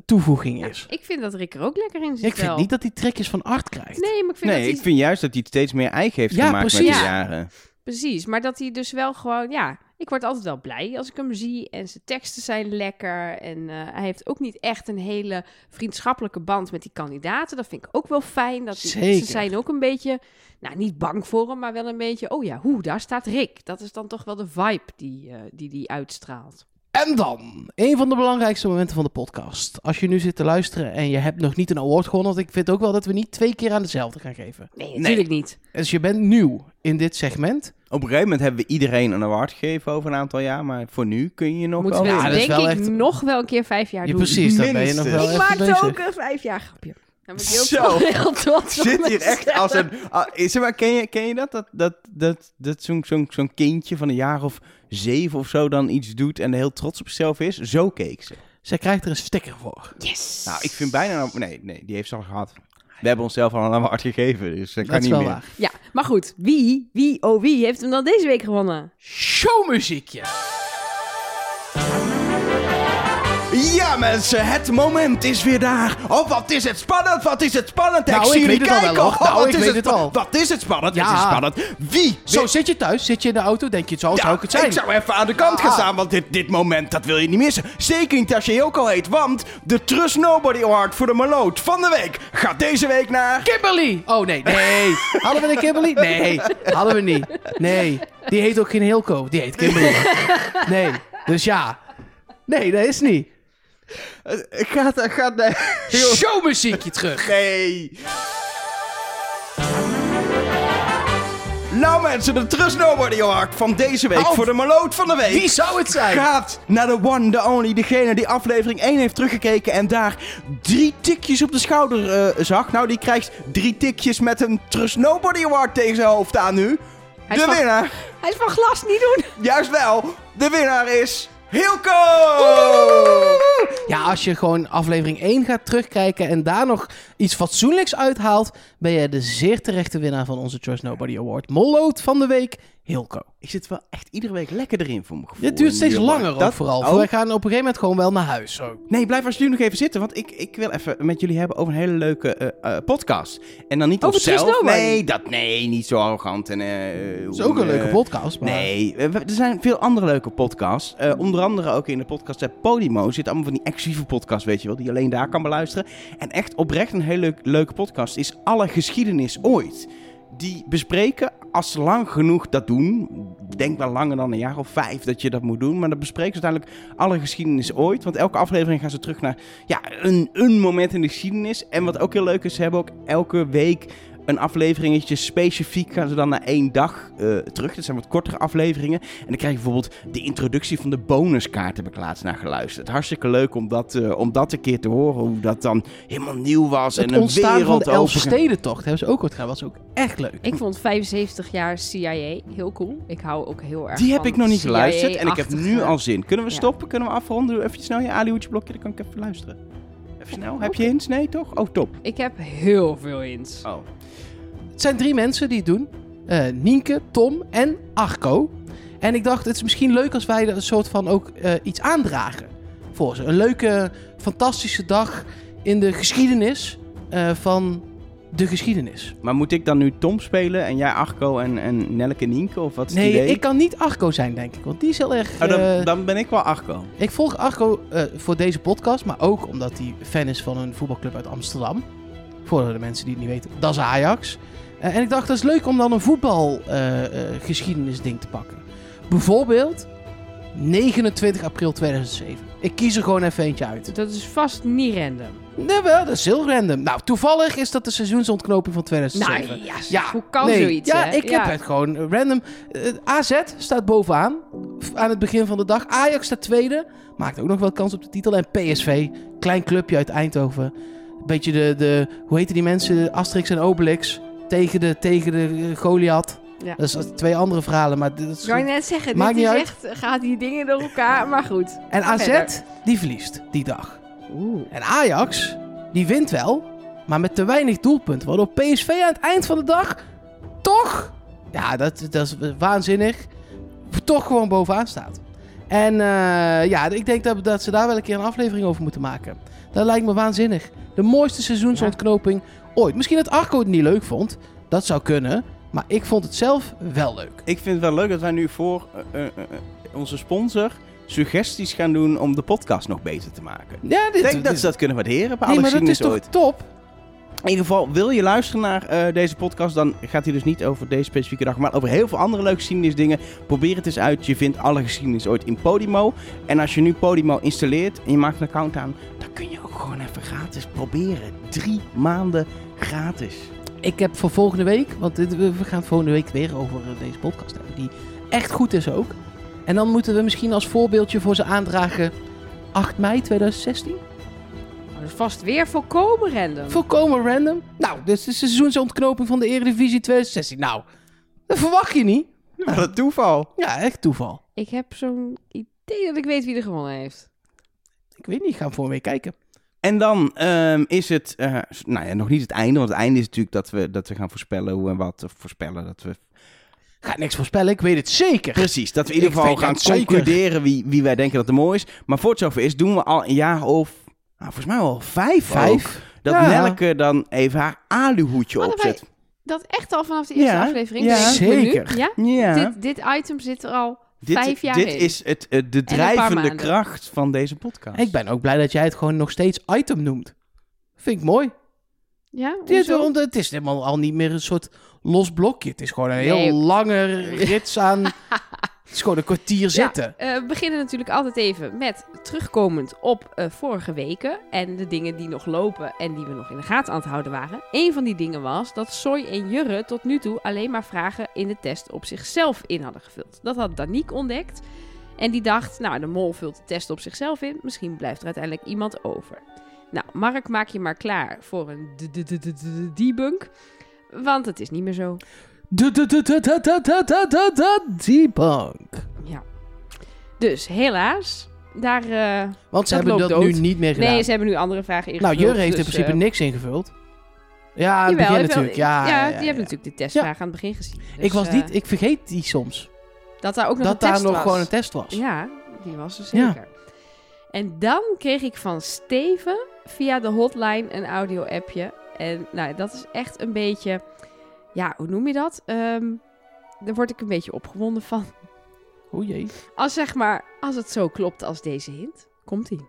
toevoeging
Ja,
is.
ik vind dat Rick er ook lekker in zit
Ik vind
wel.
niet dat hij trekjes van Art krijgt.
Nee, maar ik vind
nee,
dat
ik
hij...
vind juist dat hij het steeds meer eigen heeft
Ja,
gemaakt met
precies.
de
Ja.
jaren.
Precies, maar dat hij dus wel gewoon... Ja, ik word altijd wel blij als ik hem zie. En zijn teksten zijn lekker. En eh, hij heeft ook niet echt een hele vriendschappelijke band met die kandidaten. Dat vind ik ook wel fijn. Dat die, Ze
Zeker.
zijn ook een beetje... Nou, niet bang voor hem, maar wel een beetje... Oh ja, hoe, daar staat Rick. Dat is dan toch wel de vibe die eh, die, die uitstraalt.
En dan, een van de belangrijkste momenten van de podcast. Als je nu zit te luisteren en je hebt nog niet een award gewonnen... want ik vind ook wel dat we niet twee keer aan dezelfde gaan geven.
Nee, natuurlijk niet.
Dus je bent nieuw in dit segment.
Op een gegeven moment hebben we iedereen een award gegeven over een aantal jaar. Maar voor nu kun je nog
Moeten we
wel...
Ja,
het
dat is
denk
wel
ik
echt-
nog wel een keer vijf jaar
Je,
doen.
precies, dan ben je nog
Minstens.
wel
Ik
even
maakte
bezig.
ook een vijf jaar grapje. Dan ben ik heel,
Zo.
heel trots op
Zit hier echt
mezelf.
als een... ah, zeg maar, ken je, ken je dat? Dat, dat, dat, dat zo'n zo'n zo'n kindje van een jaar of zeven of zo dan iets doet en heel trots op zichzelf is? Zo keek ze.
Zij krijgt er een sticker voor.
Yes.
Nou, ik vind bijna... een- Nee, nee, die heeft ze al gehad. We hebben onszelf al een award gegeven, dus dat kan
Ah, Dat is
niet
wel
meer.
waar.
Ja, maar goed. Wie, wie, oh wie heeft hem dan deze week gewonnen?
Showmuziekje.
Ja mensen, het moment is weer daar. Oh, wat is het spannend, wat is het spannend.
Nou, ik
zie
weet
jullie
het al
kijken.
wel, hoor.
Oh,
Nou,
wat
ik
is
weet het
spa-
al.
Wat is het spannend,
Ja.
het is spannend. Wie?
Zo
wint-
zit je thuis, zit je in de auto, denk je, zo
Ja,
zou ik het zijn. Ah.
Ik zou even aan de kant gaan staan, want dit, dit moment, dat wil je niet missen. Zeker niet als je Joko heet, want de Trust Nobody Award voor de Maloot van de week gaat deze week naar...
Kimberly! Oh nee, nee. Hadden we een Kimberly? Nee, hadden we niet. Nee, die heet ook geen Hilco, die heet Kimberly. Nee, dus ja. Nee, dat is niet.
Gaat, gaat, nee.
Showmuziekje terug.
Nee. Nou mensen, de Trust Nobody Award van deze week
Oh.
Alf,
voor de Maloot van de week.
Wie zou het zijn?
Gaat naar de one, the only, degene die aflevering 1 heeft teruggekeken en daar drie tikjes op de schouder eh, zag. Nou, die krijgt drie tikjes met een Trust Nobody Award tegen zijn hoofd aan nu.
Hij is
de
van-
winnaar,
Hij is van glas niet doen.
juist wel, de winnaar is Hilco!
Ja, als je gewoon aflevering 1 gaat terugkijken en daar nog iets fatsoenlijks uithaalt, ben je de zeer terechte winnaar van onze Trust Nobody Award. Molloot van de week, Hilco.
Ik zit wel echt iedere week lekker erin voor mijn gevoel.
Dit duurt
En
steeds
die
langer ook
dat-
vooral.
Oh.
Wij gaan op een gegeven moment gewoon wel naar huis. Zo.
Nee, blijf alsjeblieft nog even zitten, want ik, ik wil even met jullie hebben over een hele leuke eh, eh, podcast. En dan niet
Over Trust
onszelf.
Nobody?
Nee, dat, nee, niet zo arrogant. En, eh,
Dat is ook een
eh,
leuke podcast. Maar... Mm.
Nee, we- we- er zijn veel andere leuke podcasts. Eh, onder andere ook in de podcast app Podimo zit allemaal van die exclusieve podcast, weet je wel, die je alleen daar kan beluisteren. En echt oprecht een hele leuk- leuke podcast is Alle Geschiedenis Ooit. Die bespreken, als ze lang genoeg dat doen, denk wel langer dan een jaar of vijf dat je dat moet doen, maar dan bespreken ze uiteindelijk alle geschiedenis ooit. Want elke aflevering gaan ze terug naar ja, een, een moment in de geschiedenis. En wat ook heel leuk is, ze hebben ook elke week een afleveringetje specifiek gaan ze dan naar één dag eh, terug. Dat zijn wat kortere afleveringen. En dan krijg je bijvoorbeeld de introductie van de bonuskaart heb ik laatst naar geluisterd. Hartstikke leuk om dat, eh, om dat een keer te horen. Hoe dat dan helemaal nieuw was.
Het
en een
ontstaan
wereld
van de
overge-
Elfstedentocht hebben ze ook wat gedaan. was ook echt leuk.
Ik vond 75 jaar CIA heel cool. Ik hou ook heel erg
Die heb
van
ik nog niet geluisterd. En ik heb
CIA-achtige-
nu al zin. Kunnen we
Ja.
stoppen? Kunnen we afronden? Doe even snel je Alihoedje blokje. Dan kan ik even luisteren. Even snel. Heb je hints? Nee, toch? Oh, top.
Ik heb heel veel hints.
Oh.
Het zijn drie mensen die het doen. Eh, Nienke, Tom en Arco. En ik dacht, het is misschien leuk als wij er een soort van ook eh, iets aandragen voor ze. Een leuke, fantastische dag in de geschiedenis eh, van de geschiedenis.
Maar moet ik dan nu Tom spelen en jij Arco en, en Nelleke Nienke? Of wat is
Nee,
het idee?
ik kan niet Arco zijn, denk ik. Want die is heel erg...
Oh,
eh,
dan, dan ben ik wel Arco.
Ik volg Arco eh, voor deze podcast, maar ook omdat hij fan is van een voetbalclub uit Amsterdam. Voor de mensen die het niet weten, dat is Ajax. Eh, en ik dacht, dat is leuk om dan een voetbalgeschiedenisding eh geschiedenisding te pakken. Bijvoorbeeld 29 april 2007. Ik kies er gewoon even eentje uit.
Dat is vast niet random.
Nee, wel, dat is heel random. Nou, toevallig is dat de seizoensontknoping van 2007.
Nou ja,
Ja,
hoe kan
nee.
zoiets?
Ja,
hè?
ik heb het gewoon random. Eh, AZ staat bovenaan f- aan het begin van de dag. Ajax staat tweede. Maakt ook nog wel kans op de titel. En PSV, klein clubje uit Eindhoven. Beetje de, de hoe heten die mensen? Asterix en Obelix. Tegen de, tegen de eh, Goliath.
Ja.
Dat zijn twee andere verhalen, maar dit is
Kan je net zeggen,
Maakt
dit is
niet
echt, gaat die dingen door elkaar, maar goed.
En AZ,
Verder.
die verliest die dag.
Oeh.
En Ajax, die wint wel, maar met te weinig doelpunten. Waardoor PSV aan het eind van de dag toch, ja, dat, dat is waanzinnig, toch gewoon bovenaan staat. En eh, ja, ik denk dat, dat ze daar wel een keer een aflevering over moeten maken. Dat lijkt me waanzinnig. De mooiste seizoensontknoping ooit. Misschien dat Arco het niet leuk vond. Dat zou kunnen. Maar ik vond het zelf wel leuk.
Ik vind het wel leuk dat wij nu voor eh, eh, eh, onze sponsor suggesties gaan doen om de podcast nog beter te maken.
Ja,
Ik denk dat ze dat kunnen waarderen bij
Nee,
alle
maar dat is
geschiedenis
toch
ooit.
top?
In ieder geval, wil je luisteren naar eh, deze podcast, dan gaat hij dus niet over deze specifieke dag, maar over heel veel andere leuke geschiedenisdingen. Probeer het eens uit. Je vindt alle geschiedenis ooit in Podimo. En als je nu Podimo installeert en je maakt een account aan, dan kun je ook gewoon even gratis proberen. Drie maanden gratis.
Ik heb voor volgende week, want dit- we we gaan het volgende week weer over eh, deze podcast hebben, die echt goed is ook. En dan moeten we misschien als voorbeeldje voor ze aandragen 8 mei 2016.
Dat is vast weer volkomen random.
Volkomen random. Nou, dit is de seizoensontknoping van de Eredivisie 2016. Nou, dat verwacht je niet.
Wat een toeval.
Ja, echt toeval.
ik heb zo'n idee dat ik weet wie er gewonnen heeft.
Ik weet niet, ik ga voor mee kijken.
En dan ehm, is het, eh, s- nou ja, nog niet het einde, want het einde is natuurlijk dat we, dat we gaan voorspellen hoe en wat. Of voorspellen dat we...
Ga niks voorspellen, ik weet het zeker.
Precies, dat we in ieder
Ik
geval
weet
gaan
het zeker.
concluderen wie, wie wij denken dat er mooi is. Maar voor het zover is, doen we al een jaar of, nou volgens mij al vijf ook,
Vijf.
dat
Ja.
Nelke dan even haar aluhoedje
Hadden wij
opzet.
Dat echt al vanaf de eerste
Ja,
aflevering.
ja.
weet ik me nu.
Zeker.
Ja?
Ja,
Dit, dit item zit er al
dit,
vijf jaar
dit
in.
is het, eh, de
paar
drijvende
maanden.
kracht van deze podcast.
Ik ben ook blij dat jij het gewoon nog steeds item noemt. Vind ik mooi.
Ja,
Dit,
hoezo?
omdat het is helemaal al niet meer een soort los blokje. Het is gewoon een heel
Nee.
lange rits aan. het is gewoon een kwartier zitten.
Ja, eh, we beginnen natuurlijk altijd even met terugkomend op eh, vorige weken en de dingen die nog lopen en die we nog in de gaten aan het houden waren. Een van die dingen was dat Soy en Jurre tot nu toe alleen maar vragen in de test op zichzelf in hadden gevuld. Dat had Danique ontdekt en die dacht, nou de mol vult de test op zichzelf in, misschien blijft er uiteindelijk iemand over. Nou, Mark, maak je maar klaar voor een d- d- d- d- d- debunk, want het is niet meer zo.
Du- du- du- du- du- du- du- du- du- du- Debunk.
Dus helaas, daar... eh,
Want ze
Dat
hebben
loopt
dat
dood.
nu niet meer gedaan.
Nee, ze hebben nu andere vragen ingevuld.
nou, Jurre heeft in
dus,
principe
eh,
niks ingevuld. Ja, aan het
jawel,
begin
jawel.
natuurlijk. Ja,
ja, die
ja, ja,
hebben
ja.
natuurlijk de testvraag aan het begin gezien. Dus,
ik was
eh,
niet, ik vergeet die soms.
dat daar ook nog
Dat
een test
daar nog
was.
gewoon een test was.
Ja, die was er
Ja.
zeker. En dan kreeg ik van Steven via de hotline een audio-appje. En nou, dat is echt een beetje... Ja, hoe noem je dat? Ehm, daar word ik een beetje opgewonden van.
O jee.
Als zeg maar, als het zo klopt als deze hint. Komt-ie.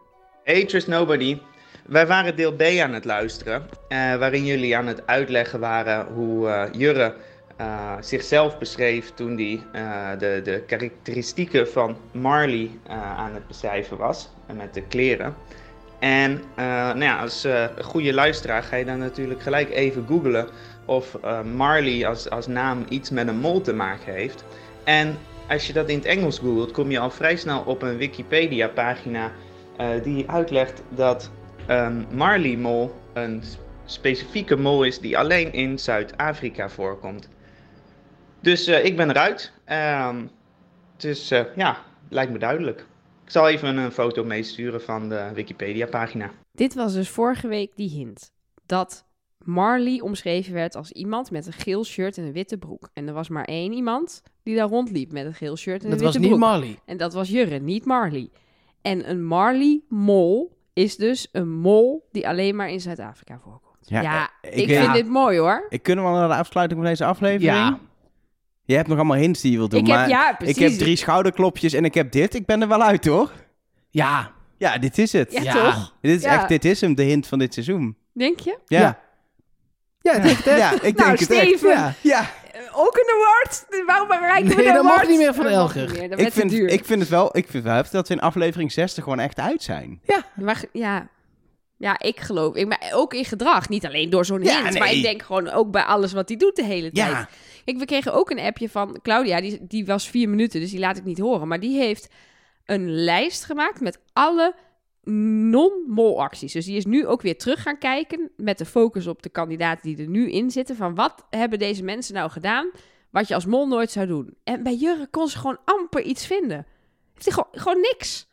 Hey Trust Nobody. Wij waren deel B aan het luisteren, eh, waarin jullie aan het uitleggen waren hoe eh, Jurre eh, zichzelf beschreef toen hij de, de karakteristieken van Marley eh, aan het beschrijven was, eh, met de kleren. En eh, nou ja, als eh, een goede luisteraar ga je dan natuurlijk gelijk even googlen of eh, Marley als, als naam iets met een mol te maken heeft. En als je dat in het Engels googelt, kom je al vrij snel op een Wikipedia-pagina eh, die uitlegt dat ehm Marley mol een s- specifieke mol is die alleen in Zuid-Afrika voorkomt. Dus eh, ik ben eruit. Ehm, dus eh, ja, lijkt me duidelijk. Ik zal even een foto meesturen van de Wikipedia-pagina.
Dit was dus vorige week die hint. Dat Marley omschreven werd als iemand met een geel shirt en een witte broek. En er was maar één iemand die daar rondliep met een geel shirt en
Dat
een
was
witte
niet
broek.
Marley.
en dat was Jurre, niet Marley. En een Marley-mol is dus een mol die alleen maar in Zuid-Afrika voorkomt.
Ja,
Ja,
eh,
ik,
ik
vind
weet-
dit mooi hoor.
Ik kunnen we al naar de afsluiting van deze aflevering?
Ja.
Je hebt nog allemaal hints die je wilt doen,
Ik
maar
heb, ja, precies.
ik heb drie schouderklopjes en ik heb dit. Ik ben er wel uit, hoor.
Ja.
Ja, dit is het.
Ja,
Ja.
toch?
Dit is
Ja.
echt, dit is hem, de hint van dit seizoen.
Denk je?
Ja.
Ja. Ja, ik denk het echt.
Ja, ik denk
nou,
het echt.
Steven,
Ja.
Ja.
eh, ook een award? Waarom bereiken we
Nee,
de
dat mag
award?
niet meer van
Dat mag
Elger.
niet meer, dat
Ik
werd te
vind,
duur.
ik vind het wel, ik vind wel heftig dat ze in aflevering 60 gewoon echt uit zijn.
Maar, ja. ja, ik geloof. Ik, maar ook in gedrag. Niet alleen door zo'n
Ja,
hint.
nee.
Maar ik denk gewoon ook bij alles wat hij doet de hele tijd.
Ja,
Kijk, we kregen ook een appje van Claudia. Die, die was vier minuten, dus die laat ik niet horen. Maar die heeft een lijst gemaakt met alle non-mol acties. Dus die is nu ook weer terug gaan kijken met de focus op de kandidaten die er nu in zitten. Van wat hebben deze mensen nou gedaan wat je als mol nooit zou doen? En bij Jurre kon ze gewoon amper iets vinden. Heeft hij gewoon, gewoon niks.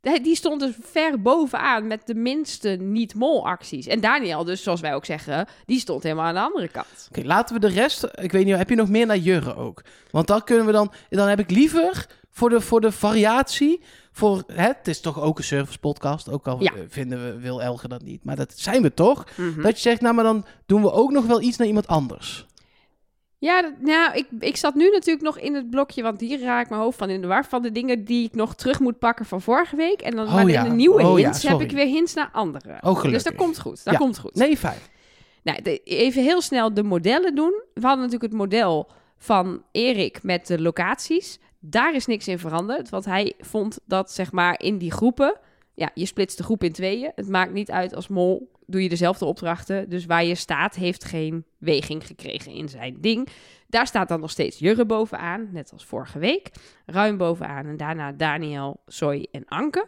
Die die stond dus ver bovenaan met de minste niet-mol acties. En Daniel dus, zoals wij ook zeggen, die stond helemaal aan de andere kant.
Oké, laten we de rest. Ik weet niet, heb je nog meer naar Jurre ook? Want dan kunnen we dan. Dan heb ik liever voor de, voor de variatie. Voor, hè, het is toch ook een service podcast. Ook al
Ja.
eh, vinden we, wil Elge dat niet. Maar dat zijn we toch?
Mhm.
Dat je zegt, nou, maar dan doen we ook nog wel iets naar iemand anders.
Ja, dat- nou, ik, ik zat nu natuurlijk nog in het blokje, want hier raak ik mijn hoofd van in de war. Van de dingen die ik nog terug moet pakken van vorige week. En dan
Oh
maar
ja,
in de nieuwe
oh ja,
hints heb
sorry. Oh,
ik weer hints naar anderen. dus dat
gelukkig.
komt goed, dat
Ja.
komt goed.
Nee, fijn.
Nou, de- even heel snel de modellen doen. We hadden natuurlijk het model van Erik met de locaties. Daar is niks in veranderd, want hij vond dat zeg maar in die groepen... Ja, je splitst de groep in tweeën. Het maakt niet uit als mol, doe je dezelfde opdrachten. Dus waar je staat heeft geen weging gekregen in zijn ding. Daar staat dan nog steeds Jurre bovenaan, net als vorige week. Ruim bovenaan en daarna Daniel, Soy en Anke.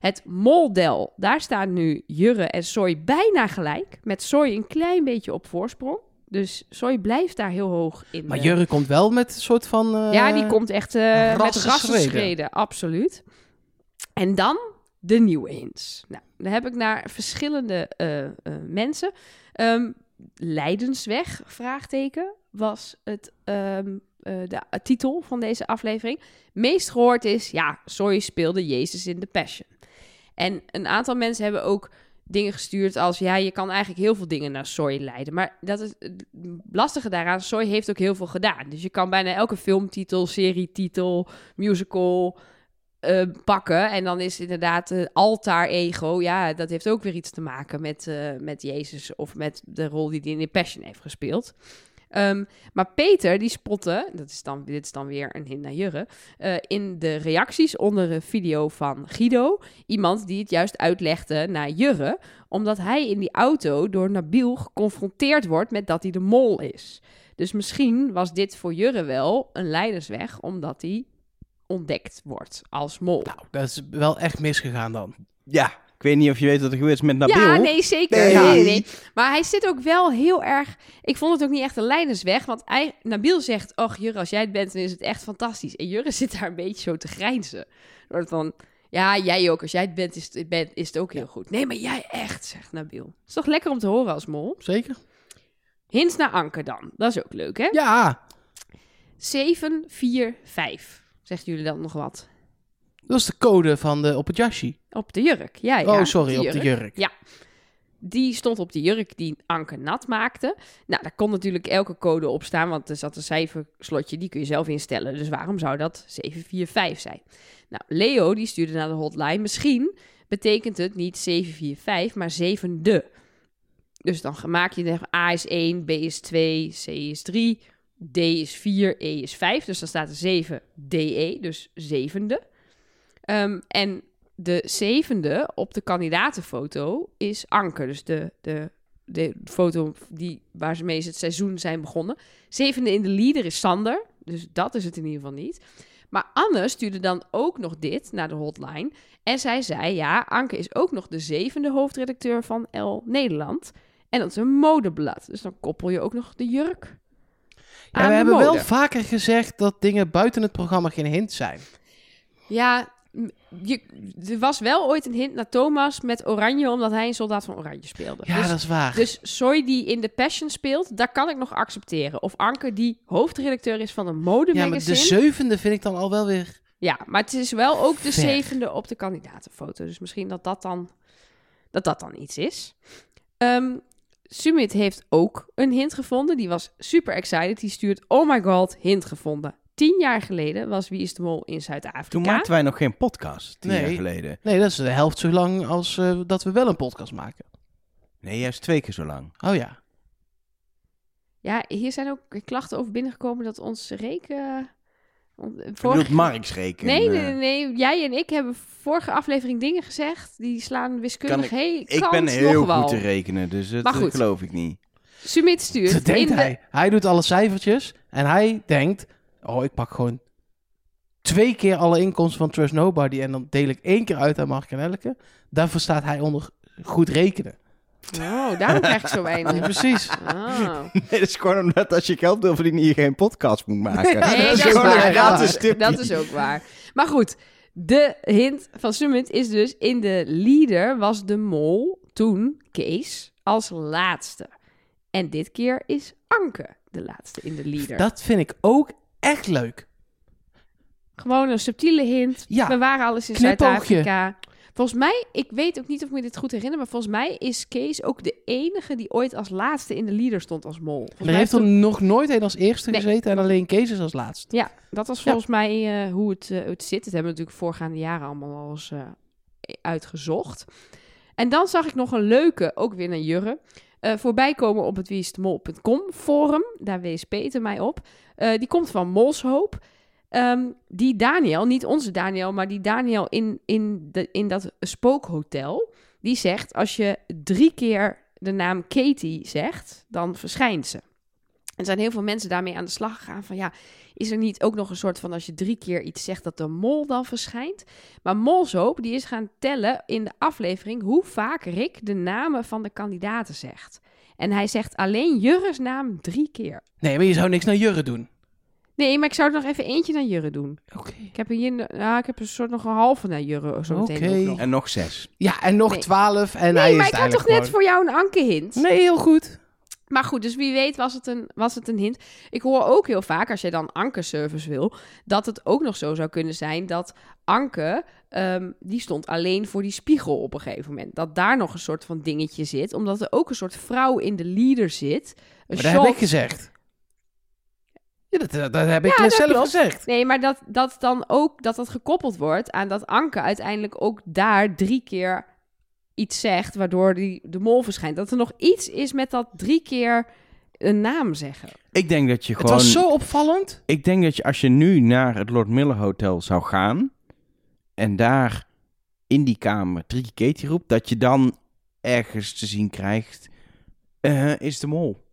Het Moldel, daar staan nu Jurre en Soy bijna gelijk. Met Soy een klein beetje op voorsprong. Dus Soy blijft daar heel hoog in.
Maar
de-
Jurre komt wel met een soort van. eh,
ja, die komt echt eh, met
rassenschreden.
rassenschreden, absoluut. En dan de nieuwe hints. Nou, dan heb ik naar verschillende eh, eh, mensen. Ehm, Leidensweg, vraagteken, was het, ehm, eh, de eh, titel van deze aflevering. Meest gehoord is, ja, sorry speelde Jezus in de Passion. En een aantal mensen hebben ook dingen gestuurd als ja, je kan eigenlijk heel veel dingen naar Soy leiden. Maar dat is het lastige daaraan. Soy heeft ook heel veel gedaan. Dus je kan bijna elke filmtitel, serietitel, musical eh, pakken. En dan is inderdaad eh, altaar ego. Ja, dat heeft ook weer iets te maken met, eh, met Jezus of met de rol die hij in The Passion heeft gespeeld. Ehm, maar Peter, die spotte, dat is dan, dit is dan weer een hint naar Jurre, eh, in de reacties onder een video van Guido, iemand die het juist uitlegde naar Jurre, omdat hij in die auto door Nabil geconfronteerd wordt met dat hij de mol is. Dus misschien was dit voor Jurre wel een leidersweg, omdat hij ontdekt wordt als mol.
Nou, dat is wel echt misgegaan dan.
ja. Ik weet niet of je weet wat er gebeurd is met Nabil.
Ja, nee, zeker.
Nee.
Ja, nee, nee. Maar hij zit ook wel heel erg... Ik vond het ook niet echt een leidersweg. Want hij, Nabil zegt, och Jurre, als jij het bent, dan is het echt fantastisch. En Jurre zit daar een beetje zo te grijnzen. Door het van, ja, jij ook. Als jij het bent, is het, bent, is het ook heel goed. Nee, maar jij echt, zegt Nabil. is toch lekker om te horen als mol?
Zeker?
Hints naar Anker dan. Dat is ook leuk, hè?
Ja,
7, 4, 5. Zegt jullie dan nog wat?
dat is de code van de, op het jasje.
Op de jurk. Ja, ja.
oh, sorry,
de
op de
jurk.
jurk.
Ja. Die stond op de jurk die Anke nat maakte. Nou, daar kon natuurlijk elke code op staan, want er zat een cijferslotje, die kun je zelf instellen. Dus waarom zou dat 745 zijn? Nou, Leo die stuurde naar de hotline. Misschien betekent het niet 745, maar zevende. Dus dan maak je de A is 1, B is 2, C is 3, D is 4, E is 5. Dus dan staat er 7 DE, dus zevende. Ehm, en de zevende op de kandidatenfoto is Anker. Dus de, de, de foto die, waar ze mee is het seizoen zijn begonnen. Zevende in de leader is Sander. Dus dat is het in ieder geval niet. Maar Anne stuurde dan ook nog dit naar de hotline. En zij zei, ja, Anke is ook nog de zevende hoofdredacteur van L Nederland. En dat is een modeblad. Dus dan koppel je ook nog de jurk
Ja,
aan
we
de
hebben
mode.
wel vaker gezegd dat dingen buiten het programma geen hint zijn.
Ja, m- je, er was wel ooit een hint naar Thomas met Oranje, omdat hij een soldaat van Oranje speelde.
Ja,
dus,
dat is waar.
dus Soy die in The Passion speelt, daar kan ik nog accepteren. Of Anke die hoofdredacteur is van een
ja, maar
modemagazine.
de zevende vind ik dan al wel weer...
Ja, maar het is wel ook de
Ver.
zevende op de kandidatenfoto. Dus misschien dat dat dan, dat dat dan iets is. Ehm, Sumit heeft ook een hint gevonden. Die was super excited. Die stuurt, oh my god, hint gevonden. Tien jaar geleden was Wie is de Mol in Zuid-Afrika.
Toen maakten wij nog geen podcast, tien
Nee.
jaar geleden.
Nee, dat is de helft zo lang als eh, dat we wel een podcast maken.
Nee, juist twee keer zo lang.
Oh ja.
Ja, hier zijn ook klachten over binnengekomen dat ons reken...
Je bedoelt Marks rekenen.
Nee, nee,
eh.
nee, nee. Jij en ik hebben vorige aflevering dingen gezegd. Die slaan wiskundig
Kan
heen.
Ik ben heel goed te rekenen, dus dat
Maar
eh,
goed.
geloof ik niet.
Sumit
Dat
stuurt. Dus in
denkt
de-
hij. Hij doet alle cijfertjes en hij denkt... Oh, ik pak gewoon twee keer alle inkomsten van Trust Nobody... en dan deel ik één keer uit aan Mark en Elke. Daarvoor staat hij onder goed rekenen.
Oh, daarom krijg ik zo
Ja,
weinig.
precies.
Oh.
Nee, dat is gewoon omdat als je geld wil verdienen, je geen podcast moet maken.
Ja,
Nee,
dat
dat,
is
is
gewoon
waar.
een gratis
Dat-
tipje.
Dat is ook waar. Maar goed, de hint van Summit is dus... in de leader was de mol toen Kees als laatste. En dit keer is Anke de laatste in de leader.
Dat vind ik ook echt leuk.
Gewoon een subtiele hint.
Ja.
We waren alles in
Knipoogje.
Zuid-Afrika. Volgens mij, ik weet ook niet of ik me dit goed herinner, maar volgens mij is Kees ook de enige die ooit als laatste in de leader stond als mol. Volgens
Er
mij
heeft er nog nooit een als eerste
Nee.
gezeten... en alleen Kees is als laatste.
Ja, dat was volgens mij eh, hoe het, eh, het zit. Het hebben we natuurlijk voorgaande jaren allemaal al eens eh, uitgezocht. En dan zag ik nog een leuke, ook weer naar Jurre, eh, voorbij komen op het wieistemol.com forum. Daar wees Peter mij op. Eh, die komt van Molshoop. Ehm, die Daniel, niet onze Daniel, maar die Daniel in, in, de, in dat spookhotel, die zegt als je drie keer de naam Katie zegt, dan verschijnt ze. Er zijn heel veel mensen daarmee aan de slag gegaan van ja, is er niet ook nog een soort van als je drie keer iets zegt dat de mol dan verschijnt? Maar Molzoop die is gaan tellen in de aflevering hoe vaak Rick de namen van de kandidaten zegt. En hij zegt alleen Jurre's naam drie keer.
Nee, maar je zou niks naar Jurre doen.
Nee, maar ik zou er nog even eentje naar Jurre doen.
Oké.
Ik heb, hier, nou, ik heb een soort nog een halve naar Jurre zo meteen
Oké.
ook nog.
En nog zes.
Ja, en nog
Nee.
twaalf en hij
Nee,
is
maar
het
ik had toch
eigenlijk
net voor jou een anke-hint?
gewoon. Nee, heel goed.
Maar goed, dus wie weet was het, een, was het een hint. Ik hoor ook heel vaak, als je dan Anke-service wil, dat het ook nog zo zou kunnen zijn dat Anke, ehm, die stond alleen voor die spiegel op een gegeven moment. Dat daar nog een soort van dingetje zit, omdat er ook een soort vrouw in de leader zit. Een
Maar dat heb
shot.
ik gezegd. Ja, dat, dat, dat heb ik
Ja, dat
zelf
klopt.
gezegd.
Nee, maar dat, dat dan ook, dat dat gekoppeld wordt aan dat Anke uiteindelijk ook daar drie keer iets zegt, waardoor die, de mol verschijnt. Dat er nog iets is met dat drie keer een naam zeggen.
Ik denk dat je
Het
gewoon...
was zo opvallend.
Ik denk dat je als je nu naar het Lord Miller Hotel zou gaan... en daar in die kamer drie keer Katie roept... dat je dan ergens te zien krijgt... eh, is de mol.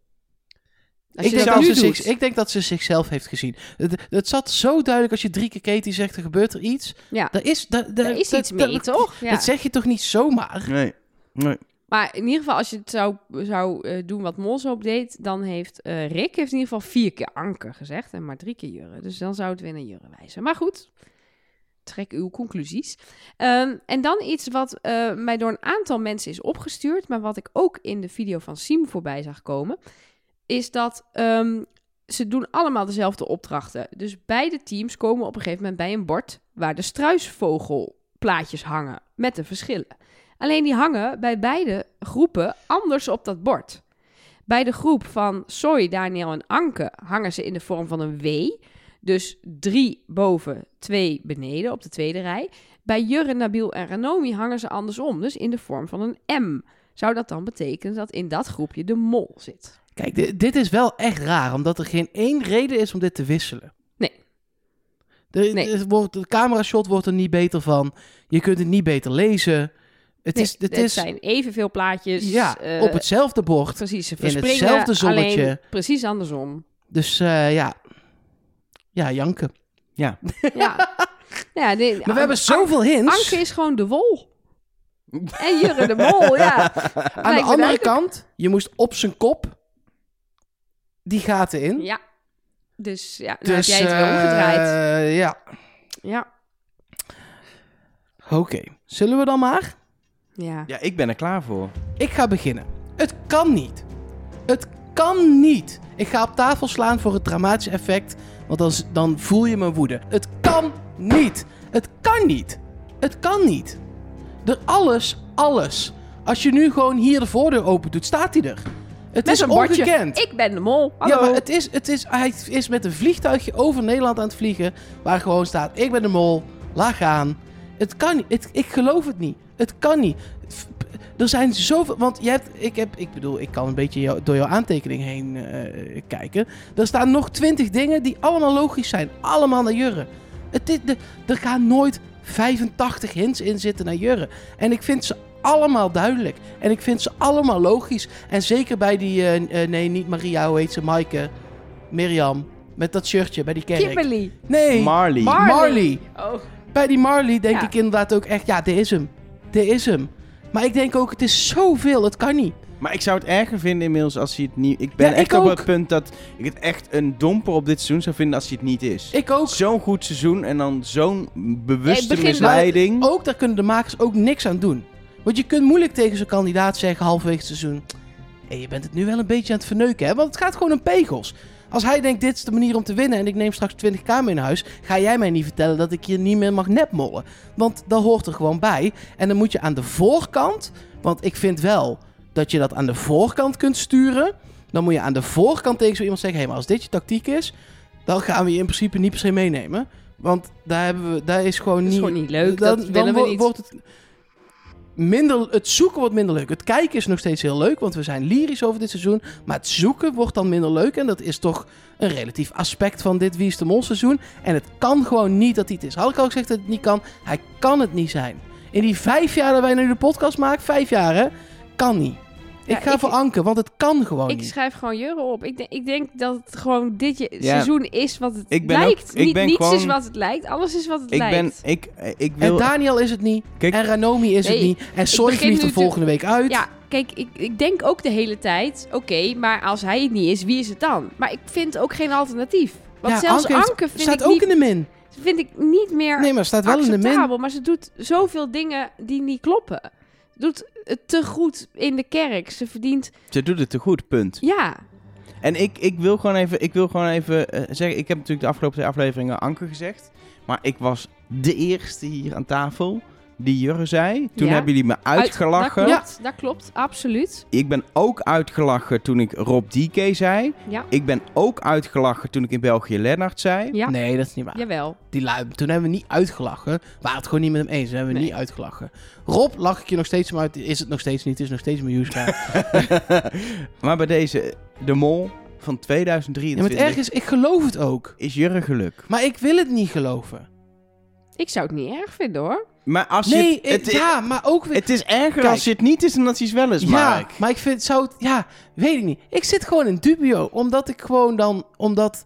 Als
Ik
je
denk,
dat
dat
nu
ze
doet.
zich, ik denk dat ze zichzelf heeft gezien. Het, het zat zo duidelijk als je drie keer Katie zegt, er gebeurt er iets.
Ja.
Er is, daar daar-
Er is
daar-
iets mee,
daar-
toch? Ja.
Dat zeg je toch niet zomaar?
Nee. nee.
Maar in ieder geval, als je het zou, zou eh, doen wat Mol zo deed, dan heeft eh, Rick heeft in ieder geval vier keer anker gezegd en maar drie keer jurre. Dus dan zou het weer naar jurre wijzen. Maar goed, trek uw conclusies. Ehm, en dan iets wat eh, mij door een aantal mensen is opgestuurd, maar wat ik ook in de video van Siem voorbij zag komen, is dat ehm, ze doen allemaal dezelfde opdrachten. Dus beide teams komen op een gegeven moment bij een bord waar de struisvogelplaatjes hangen met de verschillen. Alleen die hangen bij beide groepen anders op dat bord. Bij de groep van Soy, Daniel en Anke hangen ze in de vorm van een W. Dus drie boven, twee beneden op de tweede rij. Bij Jurre, Nabil en Ranomi hangen ze andersom, dus in de vorm van een M. Zou dat dan betekenen dat in dat groepje de mol zit?
Kijk, di- dit is wel echt raar, omdat er geen één reden is om dit te wisselen.
Nee.
De,
Nee.
het wordt, de camerashot wordt er niet beter van. Je kunt het niet beter lezen. Het
Nee,
is, het is
zijn evenveel plaatjes.
ja,
eh,
op hetzelfde bord.
precies, ze
in
verspringen,
hetzelfde zonnetje.
alleen precies andersom.
Dus eh, ja. Ja, janken.
Ja. ja, nee,
Maar we hebben zoveel hints.
Anke is gewoon de wol. En Jurre de mol, ja.
Aan de andere kant, je moest op zijn kop die gaten in.
Ja. Dus ja, nou
dus
heb jij het wel
eh,
omgedraaid.
ja,
Ja.
oké. Zullen we dan maar?
Ja.
Ja, ik ben er klaar voor.
Ik ga beginnen. Het kan niet. Het kan niet. Ik ga op tafel slaan voor het dramatische effect, want dan, z- dan voel je mijn woede. Het kan niet. Het kan niet. Het kan niet. Er alles, alles. Als je nu gewoon hier de voordeur open doet, staat hij er. Het
Met
is
een bordje.
ongekend.
Ik ben de mol. Hallo.
Ja, maar het is, het is, hij is met een vliegtuigje over Nederland aan het vliegen. Waar gewoon staat: Ik ben de mol, laag aan. Het kan niet. Het, ik geloof het niet. Het kan niet. F- p- er zijn zoveel. Want je hebt, ik, heb, ik bedoel, ik kan een beetje jou- door jouw aantekening heen eh, kijken. Er staan nog twintig dingen die allemaal logisch zijn. Allemaal naar Jurre. Het, is- de, er gaan nooit 85 hints in zitten naar Jurre. En ik vind ze allemaal duidelijk. En ik vind ze allemaal logisch. En zeker bij die, eh, eh, nee, niet Maria, hoe heet ze? Maaike. Mirjam. Met dat shirtje bij die kerk.
Kimberly.
Nee,
Marley.
Marley.
Marley.
Oh.
Bij die Marley denk
Ja.
ik inderdaad ook echt, ja, dit is hem. Dit is hem. Maar ik denk ook, het is zoveel, het kan niet.
Maar ik zou het erger vinden inmiddels als hij het niet... Ik ben
Ja,
echt
ik
op
ook.
het punt dat ik het echt een domper op dit seizoen zou vinden als hij het niet is.
Ik ook.
Zo'n goed seizoen en dan zo'n
Ik
bewuste
begin-
misleiding.
Ook daar kunnen de makers ook niks aan doen. Want je kunt moeilijk tegen zo'n kandidaat zeggen halverwege het seizoen... Hé, je bent het nu wel een beetje aan het verneuken, hè? Want het gaat gewoon om pegels. Als hij denkt, dit is de manier om te winnen en ik neem straks 20k mee naar huis... ga jij mij niet vertellen dat ik je niet meer mag nepmollen. Want dat hoort er gewoon bij. En dan moet je aan de voorkant... Want ik vind wel dat je dat aan de voorkant kunt sturen. Dan moet je aan de voorkant tegen zo iemand zeggen... hé, maar als dit je tactiek is... dan gaan we je in principe niet per se meenemen. Want daar, hebben we, daar is gewoon
Dat is
niet...
gewoon niet leuk, dat willen we
wo-
niet.
Wordt het, minder, het zoeken wordt minder leuk. Het kijken is nog steeds heel leuk, want we zijn lyrisch over dit seizoen. Maar het zoeken wordt dan minder leuk. En dat is toch een relatief aspect van dit Wie is de Mol seizoen. En het kan gewoon niet dat hij het is. Had ik al gezegd dat het niet kan? Hij kan het niet zijn. In die vijf jaar dat wij nu de podcast maken, vijf jaar hè, kan niet.
Ja,
ik ga
ik-
voor Anke, want het kan gewoon
Oh, Ik
niet.
schrijf gewoon Jurre op. Ik, denk- ik denk dat het gewoon dit je-
Ja.
seizoen is wat het
Ik ben
lijkt.
ook- ik
Niet-
ben
niets
gewoon-
is wat het lijkt, alles is wat het
Ik ben...
lijkt.
Ik, eh, ik
En
wil...
Daniel is het niet.
Kijk-
en Ranomi is het
Nee,
niet. En Sorry
begin
vliegt er
nu te-
volgende week uit.
Ja, kijk, ik, ik denk ook de hele tijd... oké, maar als hij het niet is, wie is het dan? Maar ik vind ook geen alternatief. Want
Ja,
zelfs
heeft-
Anke, vind,
staat
ik
ook
niet,
in de min.
vind ik niet meer
Nee, maar staat wel in de min.
acceptabel. Maar ze doet zoveel dingen die niet kloppen. Ze doet het te goed in de kerk. Ze verdient...
Ze doet het te goed, punt.
Ja,
En ik, ik wil gewoon even, ik wil gewoon even eh, zeggen, ik heb natuurlijk de afgelopen twee afleveringen Anker gezegd. Maar ik was de eerste hier aan tafel die Jurre zei. Toen
Ja.
hebben jullie me uitgelachen.
Uit, dat, klopt, dat klopt, absoluut.
Ik ben ook uitgelachen toen ik Rob DK zei.
Ja,
Ik ben ook uitgelachen toen ik in België Lennart zei.
ja
Nee, dat is niet waar.
jawel.
Die lui, toen hebben we niet uitgelachen. We waren het gewoon niet met hem eens. Toen hebben we
Nee.
niet uitgelachen. Rob, lach ik je nog steeds maar uit. Is het nog steeds niet. Is nog steeds Miljuska.
maar bij deze, de mol van
ja, maar
2023
het erg is, ik geloof het ook.
is Jurre geluk.
Maar ik wil het niet geloven.
Ik zou het niet erg vinden, hoor.
Maar als
Nee,
je, het,
het- ja, maar ook weer...
het is erger
Kijk.
als je het niet is dan dat hij het wel is,
ja,
Mark.
maar ik vind, zou het... Ja, weet ik niet. Ik zit gewoon in dubio. Omdat ik gewoon dan... Omdat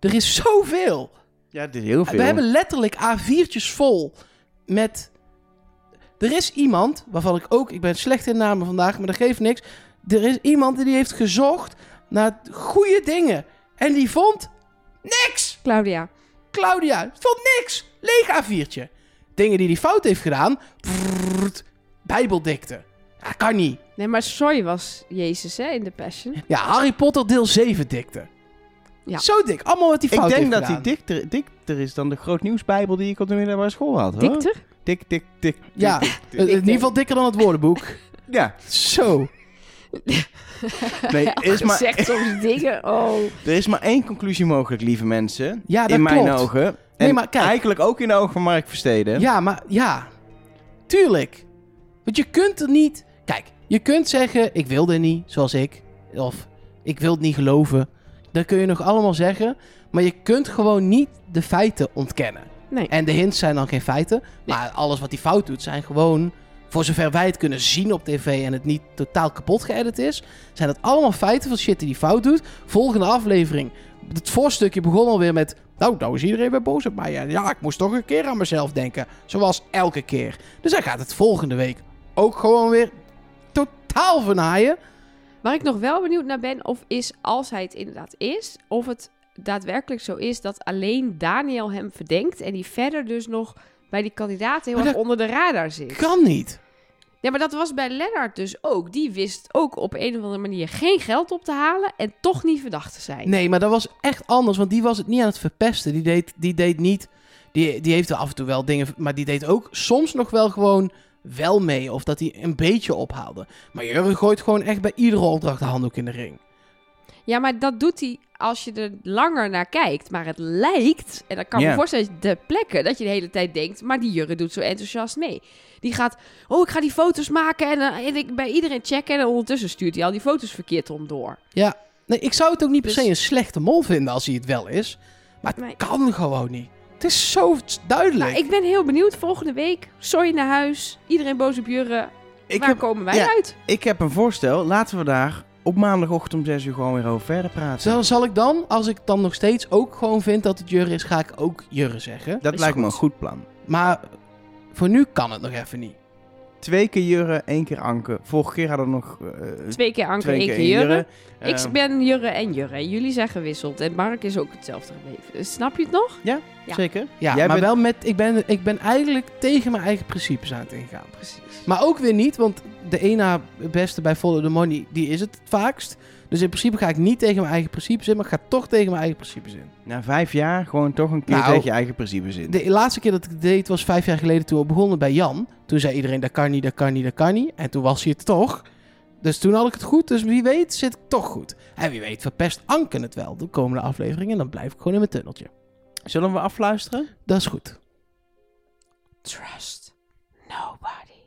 er is zoveel.
Ja, het is heel veel.
We hebben letterlijk A4'tjes vol met... Er is iemand, waarvan ik ook... Ik ben slecht in namen vandaag, maar dat geeft niks. Er is iemand die heeft gezocht naar goede dingen. En die vond niks!
Claudia.
Claudia vond niks! Leeg A4'tje. Dingen die hij fout heeft gedaan... prrrt, bijbeldikte. Ja, kan niet.
Nee, maar sorry was Jezus, hè, in de Passion.
Ja, Harry Potter deel 7 dikte.
Ja.
Zo dik. Allemaal wat hij
Ik
fout heeft
denk dat
gedaan.
hij dikter, dikter is dan de grootnieuwsbijbel die ik op de middelbare school had. hoor.
Dikter?
Dik, dik, dik. dik,
Ja,
dik,
in ieder geval dikker dan het woordenboek.
Ja,
Zo.
nee, er is maar,
Zegt soms dingen, oh.
er is maar één conclusie mogelijk, lieve mensen.
Ja, dat
in mijn
klopt.
ogen. En
Nee, maar kijk.
eigenlijk ook in de ogen van Mark Versteden.
Ja, maar ja. Tuurlijk. Want je kunt er niet... Kijk, je kunt zeggen, ik wilde niet, zoals ik. Of, ik wil het niet geloven. Dat kun je nog allemaal zeggen. Maar je kunt gewoon niet de feiten ontkennen.
Nee.
En de hints zijn dan geen feiten. Maar alles wat hij fout doet, zijn gewoon... Voor zover wij het kunnen zien op tv en het niet totaal kapot geëdit is... zijn dat allemaal feiten van shit die hij fout doet. Volgende aflevering. Het voorstukje begon alweer met... Nou, nou is iedereen weer boos op mij. En ja, ik moest toch een keer aan mezelf denken. Zoals elke keer. Dus hij gaat het volgende week ook gewoon weer totaal vernaaien.
Waar ik nog wel benieuwd naar ben, of is als hij het inderdaad is, of het daadwerkelijk zo is dat alleen Daniel hem verdenkt en die verder dus nog bij die kandidaten heel
Maar
erg
dat
onder de radar zit.
Kan niet.
Ja, maar dat was bij Lennart dus ook. Die wist ook op een of andere manier geen geld op te halen en toch niet verdacht te zijn.
Nee, maar dat was echt anders, want die was het niet aan het verpesten. Die deed, die deed niet... Die, die heeft wel af en toe wel dingen... Maar die deed ook soms nog wel gewoon wel mee. Of dat hij een beetje ophaalde. Maar Jurgen gooit gewoon echt bij iedere opdracht de handdoek in de ring.
Ja, maar dat doet hij als je er langer naar kijkt. Maar het lijkt, en dat kan
Ja.
me voorstellen, de plekken dat je de hele tijd denkt, maar die Jurre doet zo enthousiast mee. Die gaat, oh, ik ga die foto's maken en, eh, en ik bij iedereen checken. En ondertussen stuurt hij al die foto's verkeerd om door.
Nee, ik zou het ook niet per
Dus-
se een slechte mol vinden als hij het wel is. Maar het
Nee.
kan gewoon niet. Het is zo duidelijk.
Maar Nou, ik ben heel benieuwd volgende week. Sorry naar huis. Iedereen boos op Jurre.
Ik
Waar
heb,
komen wij
ja.
uit?
ik heb een voorstel. Laten we daar op maandagochtend om 6 uur gewoon weer over verder praten.
Zal, zal ik dan, als ik dan nog steeds ook gewoon vind dat het Jurre is, ga ik ook Jurre zeggen.
Dat
is
lijkt me een
goed.
goed plan.
Maar voor nu kan het nog even niet.
Twee keer Jurre, één keer Anke. Vorige keer hadden we nog eh, twee,
Twee keer Anker, één keer Jurre.
Jurre. Eh,
Ik ben Jurre en Jurre. Jullie zijn gewisseld. En Mark is ook hetzelfde gebleven. Eh, Snap je het nog? Ja.
Eh, Zeker?
Ja,
Jij
maar
bent-
wel met, ik ben, ik ben eigenlijk tegen mijn eigen principes aan het ingaan.
Precies.
Maar ook weer niet, want de ene beste bij Follow the Money, die is het vaakst. Dus in principe ga ik niet tegen mijn eigen principes in, maar ik ga toch tegen mijn eigen principes in.
Na vijf jaar gewoon toch een keer
Nou,
tegen je eigen principes in.
De laatste keer dat ik het deed was vijf jaar geleden toen we begonnen bij Jan. Toen zei iedereen, dat kan niet, dat kan niet, dat kan niet. En toen was hij het toch. Dus toen had ik het goed, dus wie weet zit ik toch goed. En wie weet verpest Anken het wel de komende aflevering en dan blijf ik gewoon in mijn tunneltje.
Zullen we afluisteren?
Dat is goed.
Trust nobody.